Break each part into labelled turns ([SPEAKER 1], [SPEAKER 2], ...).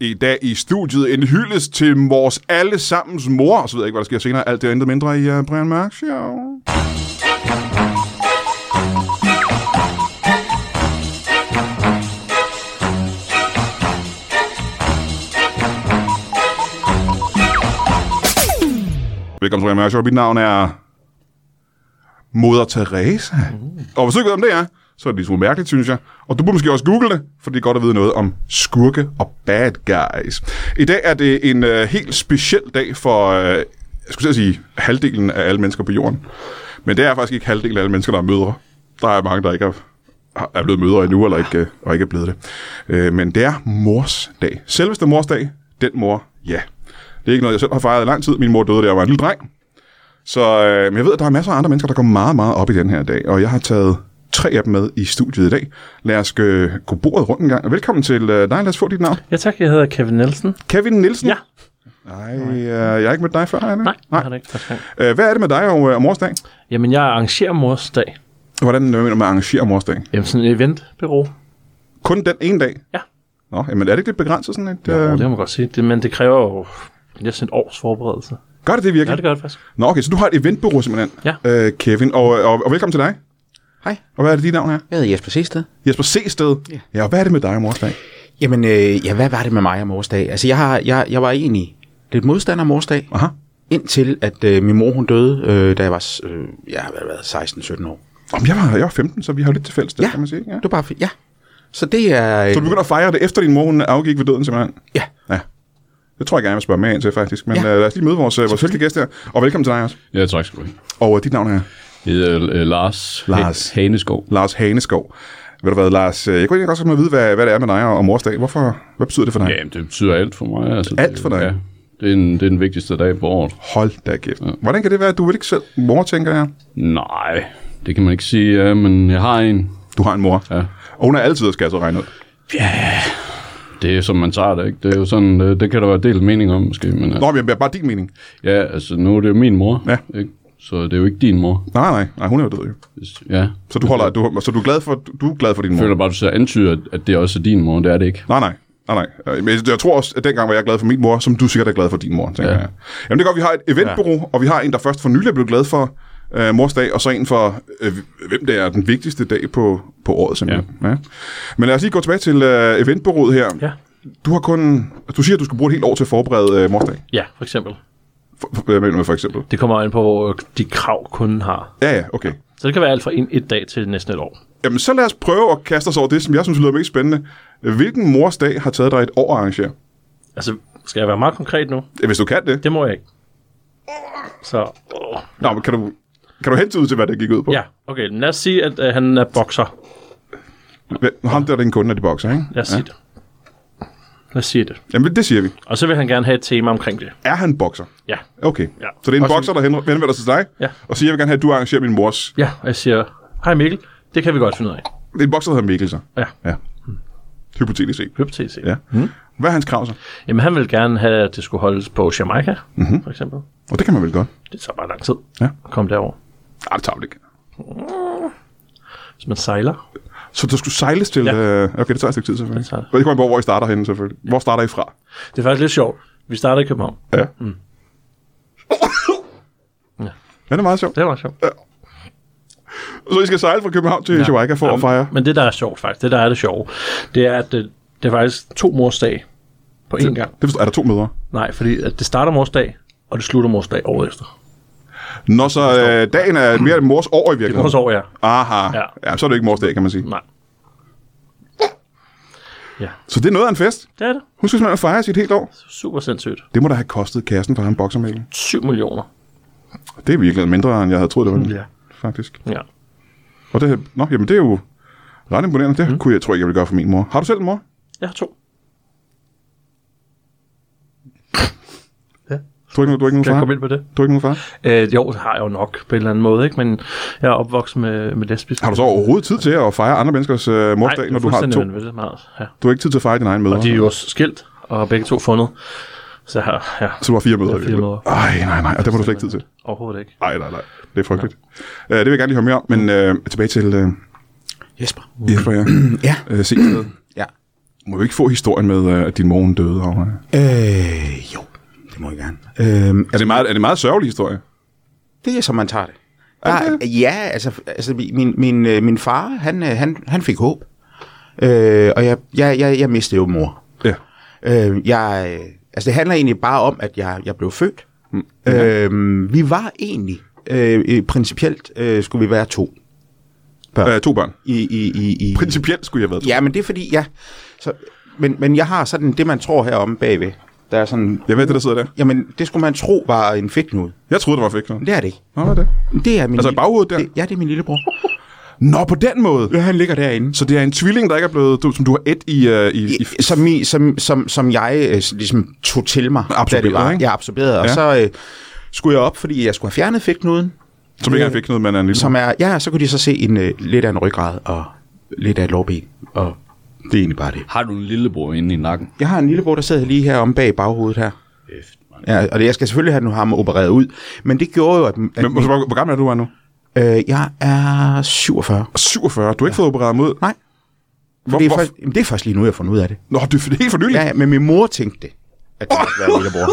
[SPEAKER 1] i dag i studiet. En hyldest til vores allesammens mor. Og så ved jeg ikke, hvad der sker senere. Alt det og intet mindre i uh, Brian Mørk Show. Velkommen til Brian Mørk Show. Mit navn er Moder Teresa. Mm. Og hvis du ikke ved, om det er, så er det lidt smule mærkeligt, synes jeg. Og du burde måske også google det, for det er godt at vide noget om skurke og bad guys. I dag er det en øh, helt speciel dag for, øh, jeg skulle til at sige, halvdelen af alle mennesker på jorden. Men det er faktisk ikke halvdelen af alle mennesker, der er mødre. Der er mange, der ikke er, er blevet mødre endnu, eller ikke, øh, og ikke er blevet det. Øh, men det er mors dag. Selveste mors dag, den mor, ja. Det er ikke noget, jeg selv har fejret i lang tid. Min mor døde, da jeg var en lille dreng. Så øh, men jeg ved, at der er masser af andre mennesker, der går meget, meget op i den her dag, og jeg har taget tre af dem med i studiet i dag. Lad os øh, gå bordet rundt en gang. Velkommen til øh, dig. Lad os få dit navn.
[SPEAKER 2] Ja tak, jeg hedder Kevin Nielsen.
[SPEAKER 1] Kevin Nielsen.
[SPEAKER 2] Ja,
[SPEAKER 1] Nej, øh, jeg har ikke mødt dig før, har jeg det?
[SPEAKER 2] nej, nej.
[SPEAKER 1] Nej.
[SPEAKER 2] har det ikke første gang.
[SPEAKER 1] Øh, hvad er det med dig og, øh, og morsdag?
[SPEAKER 2] Jamen, jeg arrangerer mors dag.
[SPEAKER 1] Hvordan øh, mener du med at arrangere morsdag?
[SPEAKER 2] Jamen, sådan et eventbureau.
[SPEAKER 1] Kun den ene dag?
[SPEAKER 2] Ja.
[SPEAKER 1] Nå, jamen er det ikke lidt begrænset sådan et...
[SPEAKER 2] Ja,
[SPEAKER 1] Øh,
[SPEAKER 2] det må man godt sige. Det, men det kræver jo næsten et års forberedelse.
[SPEAKER 1] gør det det
[SPEAKER 2] Ja,
[SPEAKER 1] virkelig?
[SPEAKER 2] det gør det faktisk.
[SPEAKER 1] Nå, okay, så du har et eventbureau simpelthen,
[SPEAKER 2] Ja.
[SPEAKER 1] øh, Kevin. Og, og, og, velkommen til dig.
[SPEAKER 3] Hej.
[SPEAKER 1] Og hvad er det, dit navn er?
[SPEAKER 3] Jeg hedder Jesper Sisted.
[SPEAKER 1] Jesper Sted. Ja. ja, og hvad er det med dig og morsdag?
[SPEAKER 3] Jamen, øh, ja, hvad var det med mig og morsdag? Altså, jeg, har, jeg, jeg var egentlig lidt modstander af morsdag,
[SPEAKER 1] Aha.
[SPEAKER 3] indtil at øh, min mor, hun døde, øh, da jeg var s- øh, ja, hvad har været 16-17 år.
[SPEAKER 1] Om jeg var, jeg var 15, så vi har jo lidt til fælles, det kan man sige. ikke? Ja.
[SPEAKER 3] Du bare, f- ja. Så det er... Øh,
[SPEAKER 1] Så du begynder at fejre det, efter din mor hun afgik ved døden simpelthen?
[SPEAKER 3] Ja.
[SPEAKER 1] ja. Det tror jeg gerne, jeg vil spørge med ind til, faktisk. Men ja.
[SPEAKER 3] Ja.
[SPEAKER 1] lad os lige møde vores, øh, vores første gæst her. Og velkommen til dig også.
[SPEAKER 4] Ja, tak skal du have.
[SPEAKER 1] Og øh, dit navn er
[SPEAKER 4] Jeg hedder øh, Lars,
[SPEAKER 1] Lars.
[SPEAKER 4] Ha- Haneskov.
[SPEAKER 1] Lars Haneskov. Ved du hvad, Lars, øh, jeg kunne egentlig godt tænke mig at vide, hvad, hvad det er med dig og, og morsdag. Hvorfor, hvad betyder det for dig?
[SPEAKER 4] Ja, jamen, det betyder alt for mig. Altså,
[SPEAKER 1] Alt
[SPEAKER 4] det,
[SPEAKER 1] for dig?
[SPEAKER 4] Ja, det er, en, det er den vigtigste dag på året.
[SPEAKER 1] Hold da kæft. Ja. Hvordan kan det være, at du er vel ikke selv mor, tænker jeg?
[SPEAKER 4] Nej, det kan man ikke sige, ja, men jeg har en.
[SPEAKER 1] Du har en mor.
[SPEAKER 4] Ja.
[SPEAKER 1] Og hun er altid skal jeg så regne ud.
[SPEAKER 4] Det er som man tager det, ikke? Det er jo sådan, øh, det, det kan der være delt mening om, måske. Men,
[SPEAKER 1] Nå,
[SPEAKER 4] altså,
[SPEAKER 1] men jeg er bare din mening.
[SPEAKER 4] ja, altså, nu er det jo min mor,
[SPEAKER 1] Ja.
[SPEAKER 4] ikke? Så det er jo ikke din mor.
[SPEAKER 1] Nej, nej, nej, hun er jo død. Jo.
[SPEAKER 4] Hvis- Ja.
[SPEAKER 1] Så du, holder, du, så du er glad for, du er glad for din mor?
[SPEAKER 4] Jeg føler bare, du så antyder, at- at det også er din mor. Det er det ikke.
[SPEAKER 1] Nej, nej. Nej, nej. Øh, Men jeg tror også, at dengang var jeg glad for min mor, som du sikkert er glad for din mor, tænker ja.
[SPEAKER 4] Ja.
[SPEAKER 1] jeg. Jamen det er godt, vi har et eventbureau, ja. og vi har en, der først for nylig blev glad for øh, mors dag, og så en for, øh, hvem det er, den vigtigste dag på, på året simpelthen. Ja. Ja. Men lad os lige gå tilbage til øh, eventbureauet her.
[SPEAKER 2] Ja.
[SPEAKER 1] Du har kun, du siger, at du skal bruge et helt år til at forberede øh, mors dag,
[SPEAKER 2] Ja, for eksempel.
[SPEAKER 1] for, for, hvad mener du med for eksempel.
[SPEAKER 2] Det kommer an på, hvor de krav kunden har.
[SPEAKER 1] Ja, ja, okay.
[SPEAKER 2] Så det kan være alt fra en, et dag til næsten et år.
[SPEAKER 1] Jamen så lad os prøve at kaste os over det, som jeg synes lyder mest spændende. Hvilken mors dag har taget dig et år at arrangere?
[SPEAKER 2] Altså, skal jeg være meget konkret nu?
[SPEAKER 1] Ja, Hvis du kan det.
[SPEAKER 2] Det må jeg ikke. Så, åh.
[SPEAKER 1] Nå, men kan du, kan du hentyde til, hvad det gik ud på?
[SPEAKER 2] ja, okay. Men lad os sige, at øh, han er bokser.
[SPEAKER 1] Hvem- Ham der er den kunde, når de bokser, ikke?
[SPEAKER 2] Lad os sige det. Lad os sige det.
[SPEAKER 1] Jamen, det siger vi.
[SPEAKER 2] Og så vil han gerne have et tema omkring det.
[SPEAKER 1] Er han bokser?
[SPEAKER 2] Ja,
[SPEAKER 1] Okay.
[SPEAKER 2] Ja.
[SPEAKER 1] Så det er en
[SPEAKER 3] Også-
[SPEAKER 1] bokser, der henv- henvender sig til dig,
[SPEAKER 2] Ja.
[SPEAKER 1] og siger, jeg vil gerne have, at du arrangerer min mors.
[SPEAKER 2] ja. Og jeg siger, hej Mikkel, det kan vi godt finde ud af.
[SPEAKER 1] Det er en bokser, der hedder Mikkel, så.
[SPEAKER 2] Ja,
[SPEAKER 1] Ja. Hypotetisk set.
[SPEAKER 2] hypotetisk. set.
[SPEAKER 1] Ja. Mm. Hvad er hans krav så?
[SPEAKER 2] Jamen, han ville gerne have, at det skulle holdes på Jamaica, mm-hmm. for eksempel.
[SPEAKER 1] Og det kan man vel godt.
[SPEAKER 2] Det tager bare lang tid
[SPEAKER 1] Mhm. Ja.
[SPEAKER 2] at komme derover.
[SPEAKER 1] Ej, det tager det ikke.
[SPEAKER 2] Hvis man sejler.
[SPEAKER 1] Så der skulle sejles til...
[SPEAKER 2] Ja.
[SPEAKER 1] Øh, okay, det tager et stykke tid, selvfølgelig.
[SPEAKER 2] Det tager det.
[SPEAKER 1] Og det kommer på, hvor I starter henne, selvfølgelig. Hvor starter I fra?
[SPEAKER 2] Det er faktisk lidt sjovt. Vi starter i København.
[SPEAKER 1] Ja. Mm. ja. Det er meget sjovt.
[SPEAKER 2] Det var sjovt.
[SPEAKER 1] Så I skal sejle fra København til ja. Jamaica for at fejre.
[SPEAKER 2] Men det, der er sjovt faktisk, det der er det sjove, det er, at det, det er faktisk to morsdag på én gang.
[SPEAKER 1] Det forstår, er der to mødre?
[SPEAKER 2] Nej, fordi at det starter morsdag, og det slutter morsdag året efter.
[SPEAKER 1] Nå, så øh, dagen er mere mors år i
[SPEAKER 2] Det
[SPEAKER 1] virkeligheden.
[SPEAKER 2] er mors år, ja.
[SPEAKER 1] Aha. Ja.
[SPEAKER 2] Ja.
[SPEAKER 1] ja. så er det ikke mors dag, kan man sige.
[SPEAKER 2] Nej. Ja,
[SPEAKER 1] Så det er noget af en fest.
[SPEAKER 2] det er det.
[SPEAKER 1] Hun skal simpelthen fejre sit helt år.
[SPEAKER 2] Super sindssygt.
[SPEAKER 1] Det må da have kostet kassen for ham boksermælen.
[SPEAKER 2] 7 millioner.
[SPEAKER 1] Det er virkelig mindre, end jeg havde troet, det var.
[SPEAKER 2] Mm, Ja.
[SPEAKER 1] Faktisk.
[SPEAKER 2] Ja.
[SPEAKER 1] Og det, nå, jamen det er jo ret imponerende. Det mm. kunne jeg, tror jeg, jeg ville gøre for min mor. Har du selv en mor?
[SPEAKER 2] Jeg har to.
[SPEAKER 1] Du har ikke, nogen- du har ikke nogen
[SPEAKER 2] Kan
[SPEAKER 1] far?
[SPEAKER 2] jeg komme ind på det?
[SPEAKER 1] Du har ikke nogen far?
[SPEAKER 2] Øh, jo, det har jeg jo nok på en eller anden måde, ikke? men jeg er opvokset med, med lesbisk.
[SPEAKER 1] Har du så overhovedet tid til at fejre andre menneskers øh, morsdag, når du har to?
[SPEAKER 2] Vanvittigt meget. Ja.
[SPEAKER 1] Du har ikke tid til at fejre din egen mødre.
[SPEAKER 2] Og de er jo også skilt, og har begge to fundet. Så jeg har, ja,
[SPEAKER 1] Så du har fire mødre.
[SPEAKER 2] Jeg har fire
[SPEAKER 1] i virkeligheden. Ej, nej, nej. Og det må du slet ikke tid til.
[SPEAKER 2] overhovedet ikke.
[SPEAKER 1] Ej, nej, nej. Det er frygteligt. Øh, det vil jeg gerne lige høre mere om, men øh, tilbage til øh,
[SPEAKER 3] Jesper.
[SPEAKER 1] Jesper, ja.
[SPEAKER 3] Ja.
[SPEAKER 1] Øh, se,
[SPEAKER 3] Ja.
[SPEAKER 1] Må vi ikke få historien med, øh, at din mor hun døde? Og, øh.
[SPEAKER 3] Øh, jo, det må jeg gerne. Øh,
[SPEAKER 1] er, det meget, er det en meget sørgelig historie?
[SPEAKER 3] det er, som man tager det.
[SPEAKER 1] Er
[SPEAKER 3] Der, ja, altså, altså min, min, øh, min far, han, øh, han, han fik håb. Øh, og jeg, jeg, jeg, jeg mistede jo mor.
[SPEAKER 1] Ja.
[SPEAKER 3] Øh, jeg, øh, altså det handler egentlig bare om, at jeg, jeg blev født. Mm. Øh, vi var egentlig, øh, øh, principielt øh, skulle vi være to.
[SPEAKER 1] Øh, to børn.
[SPEAKER 3] I, i, i, i,
[SPEAKER 1] Principielt skulle jeg have været to.
[SPEAKER 3] ja, men det er fordi, ja. Så, men, men jeg har sådan det, man tror heromme bagved. Der er sådan,
[SPEAKER 1] Jeg ved det, der sidder der.
[SPEAKER 3] jamen det skulle man tro var en fedtknude.
[SPEAKER 1] Jeg troede, det var fik.
[SPEAKER 3] Men det er det ikke.
[SPEAKER 1] Nå, hvad er det?
[SPEAKER 3] Det er min
[SPEAKER 1] Altså i
[SPEAKER 3] lille-
[SPEAKER 1] baghovedet der?
[SPEAKER 3] Det, ja, det er min lillebror.
[SPEAKER 1] Nå, på den måde.
[SPEAKER 3] Ja, han ligger derinde.
[SPEAKER 1] Så det er en tvilling, der ikke er blevet, du, som du har et i, øh, i, i
[SPEAKER 3] Som, i, som, som, som jeg øh, ligesom tog til mig. da
[SPEAKER 1] Absorberet,
[SPEAKER 3] det var.
[SPEAKER 1] ikke?
[SPEAKER 3] Jeg absorberede, og
[SPEAKER 1] Ja.
[SPEAKER 3] så øh, skulle jeg op, fordi jeg skulle have fjernet fedtknuden.
[SPEAKER 1] som ikke engang fik noget, men er en lille.
[SPEAKER 3] øh, Som er, ja, så kunne de så se en, øh, lidt af en ryggrad og lidt af et lårben. Og det er egentlig bare det.
[SPEAKER 4] Har du en lillebror inde i nakken?
[SPEAKER 3] Jeg har en lillebror, der sidder lige her om bag baghovedet her.
[SPEAKER 4] Kæft, mand.
[SPEAKER 3] Ja, og det, jeg skal selvfølgelig have nu ham opereret ud. Men det gjorde jo, at, at
[SPEAKER 1] Men, altså, hvor, hvor gammel er du er nu?
[SPEAKER 3] øh, jeg er 47.
[SPEAKER 1] 47. Du har ikke fået opereret mod?
[SPEAKER 3] Nej.
[SPEAKER 1] Hvor,
[SPEAKER 3] Hvor, det, er
[SPEAKER 1] hvor,
[SPEAKER 3] først, jamen, det er først lige nu, jeg har fundet ud af det.
[SPEAKER 1] Nå, det er helt for nylig.
[SPEAKER 3] Ja, ja, men min mor tænkte det, at det var være lillebror.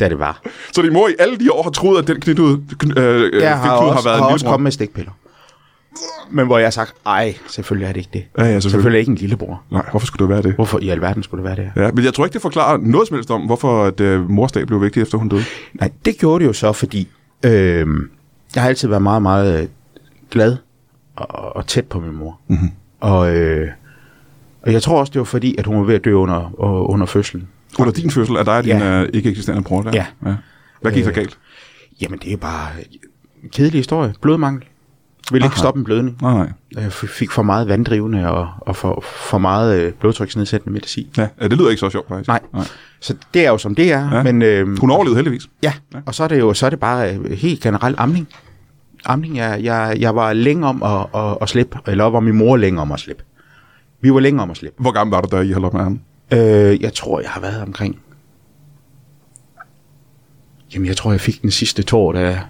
[SPEAKER 3] da det var.
[SPEAKER 1] Så din mor i alle de år har troet, at den knitud, kn- øh, øh,
[SPEAKER 3] Jeg har,
[SPEAKER 1] fedtknud
[SPEAKER 3] også,
[SPEAKER 1] har været
[SPEAKER 3] har
[SPEAKER 1] en
[SPEAKER 3] også
[SPEAKER 1] lillebror.
[SPEAKER 3] kommet med stikpiller. Men hvor jeg har sagt, ej, selvfølgelig er det ikke det.
[SPEAKER 1] Ja, ja, selvfølgelig.
[SPEAKER 3] selvfølgelig er det ikke en lillebror.
[SPEAKER 1] Nej, hvorfor skulle det være det?
[SPEAKER 3] Hvorfor i alverden skulle det være det her?
[SPEAKER 1] Ja, men jeg tror ikke, det forklarer noget som helst om, hvorfor at, øh, morsdag blev vigtig, efter hun døde.
[SPEAKER 3] Nej, det gjorde det jo så, fordi øh, jeg har altid været meget, meget øh, glad og, og- og tæt på min mor. Mm-hmm. Og, øh, og jeg tror også, det var fordi, at hun var ved at dø under, og- under fødslen.
[SPEAKER 1] Under din fødsel er dig og din
[SPEAKER 3] Ja.
[SPEAKER 1] øh, ikke eksisterende bror der.
[SPEAKER 3] Ja.
[SPEAKER 1] ja. Hvad gik der
[SPEAKER 3] Øh.
[SPEAKER 1] galt?
[SPEAKER 3] Jamen, det er bare en kedelig historie. Blodmangel. Vil ikke
[SPEAKER 1] Aha.
[SPEAKER 3] stoppe en blødning.
[SPEAKER 1] Nej, nej.
[SPEAKER 3] Jeg f- fik for meget vanddrivende og, og for, for meget øh, blodtryksnedsættende medicin.
[SPEAKER 1] Ja, ja, det lyder ikke så sjovt, faktisk.
[SPEAKER 3] Nej. Nej. Så det er jo som det er.
[SPEAKER 1] Ja.
[SPEAKER 3] Ja. Men, øh,
[SPEAKER 1] Hun overlevede heldigvis.
[SPEAKER 3] Ja, og så er det jo så er det bare øh, helt generelt amning. Amning, jeg, jeg, jeg var længe om at, at, at slippe, eller var min mor længe om at slippe. Vi var længe om at slippe.
[SPEAKER 1] Hvor gammel var du, da I holdt op med ham?
[SPEAKER 3] Øh, jeg tror, jeg har været omkring... Jamen, jeg tror, jeg fik den sidste tår, da jeg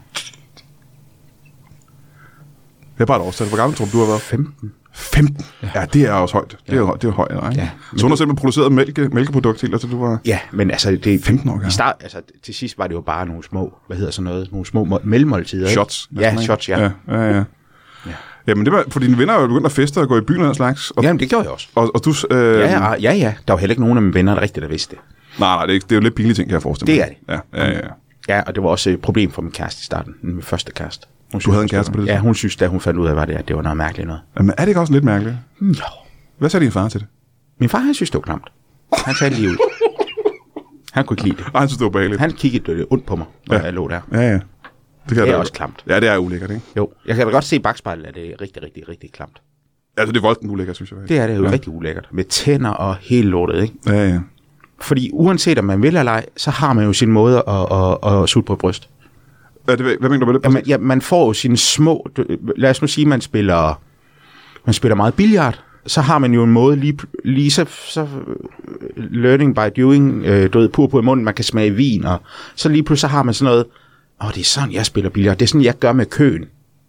[SPEAKER 1] Det er bare et årstal. Hvor gammel tror du, du har været?
[SPEAKER 3] 15.
[SPEAKER 1] 15. Ja, det er også højt. Det er, jo- det er jo højt, ikke?
[SPEAKER 3] Ja.
[SPEAKER 1] Så hun har simpelthen produceret mælke, mælkeprodukt helt, altså du var...
[SPEAKER 3] Ja, men altså... Det,
[SPEAKER 1] 15 år gammel.
[SPEAKER 3] i start, altså, til sidst var det jo bare nogle små, hvad hedder sådan noget, nogle små må- mellemmåltider. ikke?
[SPEAKER 1] Shots.
[SPEAKER 3] Ja,
[SPEAKER 1] næsten, ikke?
[SPEAKER 3] shots, ja.
[SPEAKER 1] Ja,
[SPEAKER 3] ja.
[SPEAKER 1] ja, ja. Jamen, det var, for dine venner er jo begyndt at feste og gå i byen og den slags. Og,
[SPEAKER 3] Jamen, det gjorde jeg også.
[SPEAKER 1] og, og du... Øh,
[SPEAKER 3] Ja, ja, ja, ja. Der var heller ikke nogen af mine venner, der rigtigt der vidste det.
[SPEAKER 1] Nej, nej, det er, ikke- det er jo lidt pinlige ting, kan jeg forestille
[SPEAKER 3] Det
[SPEAKER 1] mig.
[SPEAKER 3] er det.
[SPEAKER 1] Ja, ja, ja. ja.
[SPEAKER 3] Ja, og det var også et problem for min kæreste i starten. Min første kæreste. Hun
[SPEAKER 1] Du havde en kæreste på det
[SPEAKER 3] Ja, hun synes, da hun fandt ud af, hvad det er, det var noget mærkeligt noget.
[SPEAKER 1] Jamen, er det ikke også lidt mærkeligt?
[SPEAKER 3] Jo.
[SPEAKER 1] Hvad sagde din far til det?
[SPEAKER 3] Min far, han synes, det var klamt. Han sagde det lige ud. Han kunne ikke lide det.
[SPEAKER 1] Ej, han synes, det var behageligt.
[SPEAKER 3] Han kiggede lidt ondt på mig, når
[SPEAKER 1] Ja.
[SPEAKER 3] ja. jeg lå der.
[SPEAKER 1] Ja, ja. Det, kan
[SPEAKER 3] Det
[SPEAKER 1] jeg
[SPEAKER 3] er
[SPEAKER 1] da-
[SPEAKER 3] også klamt.
[SPEAKER 1] Ja, det er ulækkert, ikke?
[SPEAKER 3] Jo, jeg kan da godt se i bagspejlet, at det er rigtig, rigtig, rigtig klamt.
[SPEAKER 1] Altså, det er voldsomt ulækkert, synes jeg.
[SPEAKER 3] Det er det jo ja. rigtig ulækkert. Med tænder og helt lortet, ikke?
[SPEAKER 1] Ja, ja.
[SPEAKER 3] Fordi uanset om man vil eller ej, så har man jo sin måde at, at, at sutte på bryst.
[SPEAKER 1] ja det, hvad mener du med det?
[SPEAKER 3] Jamen, ja, man får jo sine små... du- Lad os nu sige, man spiller, man spiller meget billard. Så har man jo en måde lige, lige så, så øh, learning by doing, øh, du ved, pur på i munden, man kan smage vin, og så lige pludselig så har man sådan noget, åh, det er sådan, jeg spiller billard, det er sådan, jeg gør med køen.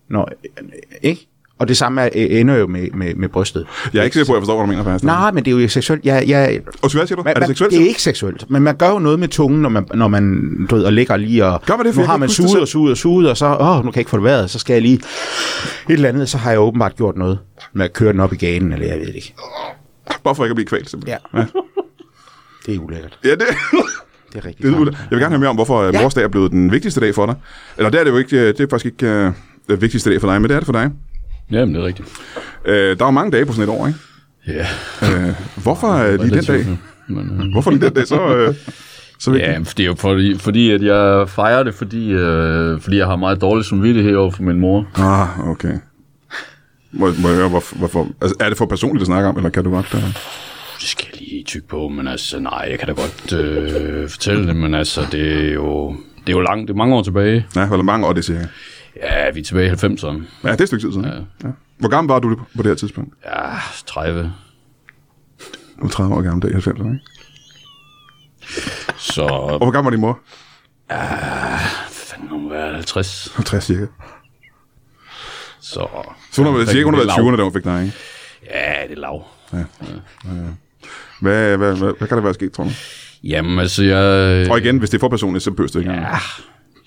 [SPEAKER 3] Nå, øh, ikke? Og det samme er, øh, ender jo med, med, med brystet.
[SPEAKER 1] Jeg er ikke sikker på, at jeg forstår, hvad du mener, faktisk.
[SPEAKER 3] Nej, men det er jo seksuelt. Ja, ja,
[SPEAKER 1] Og hvad siger du?
[SPEAKER 3] man,
[SPEAKER 1] er det seksuelt?
[SPEAKER 3] Det er ikke seksuelt, men man gør jo noget med tungen, når man, når man du ved, og ligger lige og...
[SPEAKER 1] Gør man det? For
[SPEAKER 3] nu
[SPEAKER 1] jeg
[SPEAKER 3] har
[SPEAKER 1] kan
[SPEAKER 3] man
[SPEAKER 1] ikke huske det
[SPEAKER 3] suget og suget og suget, og så, åh, nu kan jeg ikke få det vejret, så skal jeg lige et eller andet, så har jeg åbenbart gjort noget med at køre den op i ganen, eller jeg ved det ikke.
[SPEAKER 1] Bare for ikke at blive kvalt, simpelthen.
[SPEAKER 3] Ja. Det er ulækkert.
[SPEAKER 1] Ja, det,
[SPEAKER 3] Det er rigtig
[SPEAKER 1] det er
[SPEAKER 3] klamt.
[SPEAKER 1] ulækkert. Jeg vil gerne høre mere om, hvorfor ja. morsdag er blevet den vigtigste dag for dig. Eller det er det jo ikke. øh, Det er faktisk ikke øh, den vigtigste dag for dig, men det er det for dig.
[SPEAKER 4] Jamen, det er rigtigt.
[SPEAKER 1] Øh, der er jo mange dage på sådan et år, ikke?
[SPEAKER 4] Ja.
[SPEAKER 1] Øh, hvorfor øh, lige den dag?
[SPEAKER 4] Relativt, ja. Men, øh,
[SPEAKER 1] Hvorfor lige den dag så... Øh, så vigtigt?
[SPEAKER 4] Ja, det er jo fordi, fordi at jeg fejrer det, fordi, øh, fordi jeg har meget dårlig samvittighed over for min mor.
[SPEAKER 1] Ah, okay. Må, må jeg høre, hvorfor, hvorfor? Altså, er det for personligt at snakke om, eller kan du godt... Uh...
[SPEAKER 4] Det skal jeg lige tykke på, men altså, nej, jeg kan da godt øh, fortælle det, men altså, det er jo... Det er jo langt, det er mange år tilbage.
[SPEAKER 1] Ja, hvor mange år er det cirka?
[SPEAKER 4] Ja, vi er tilbage i 90'erne.
[SPEAKER 1] Ja, det er et stykke tid siden. Ja. Ja. Hvor gammel var du på det her tidspunkt?
[SPEAKER 4] Ja, 30.
[SPEAKER 1] Du er 30 år gammel, der i 90'erne, ikke?
[SPEAKER 4] Så,
[SPEAKER 1] Og hvor gammel var din mor?
[SPEAKER 4] fanden, hun var 50.
[SPEAKER 1] 50 cirka.
[SPEAKER 4] Så...
[SPEAKER 1] Så hun har været cirka hun har været 20'erne, da hun fik dig, ikke?
[SPEAKER 4] Ja, det er lav.
[SPEAKER 1] Ja. Hvad, hvad, hvad, hvad kan der være sket, tror du?
[SPEAKER 4] Jamen altså, jeg...
[SPEAKER 1] Og igen, hvis det er for personligt, så behøver det ikke. engang.
[SPEAKER 4] Ja,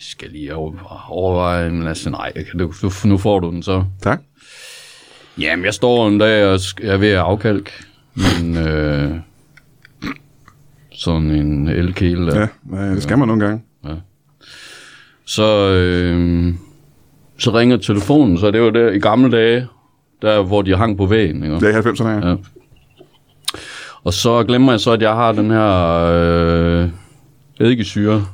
[SPEAKER 4] skal lige over- overveje, men altså nej, jeg kan- du, du- nu får du den så.
[SPEAKER 1] Tak.
[SPEAKER 4] Jamen, jeg står en dag og sk- jeg er ved at afkalke, men øh, sådan en elkæle der.
[SPEAKER 1] Ja, ja det skal man nogle gange.
[SPEAKER 4] Så, øh, så ringer telefonen, så det var der i gamle dage, der hvor de hang på væggen. Ikke?
[SPEAKER 1] Det er i 90'erne, ja.
[SPEAKER 4] Ja. Og så glemmer jeg så, at jeg har den her øh, eddikesyre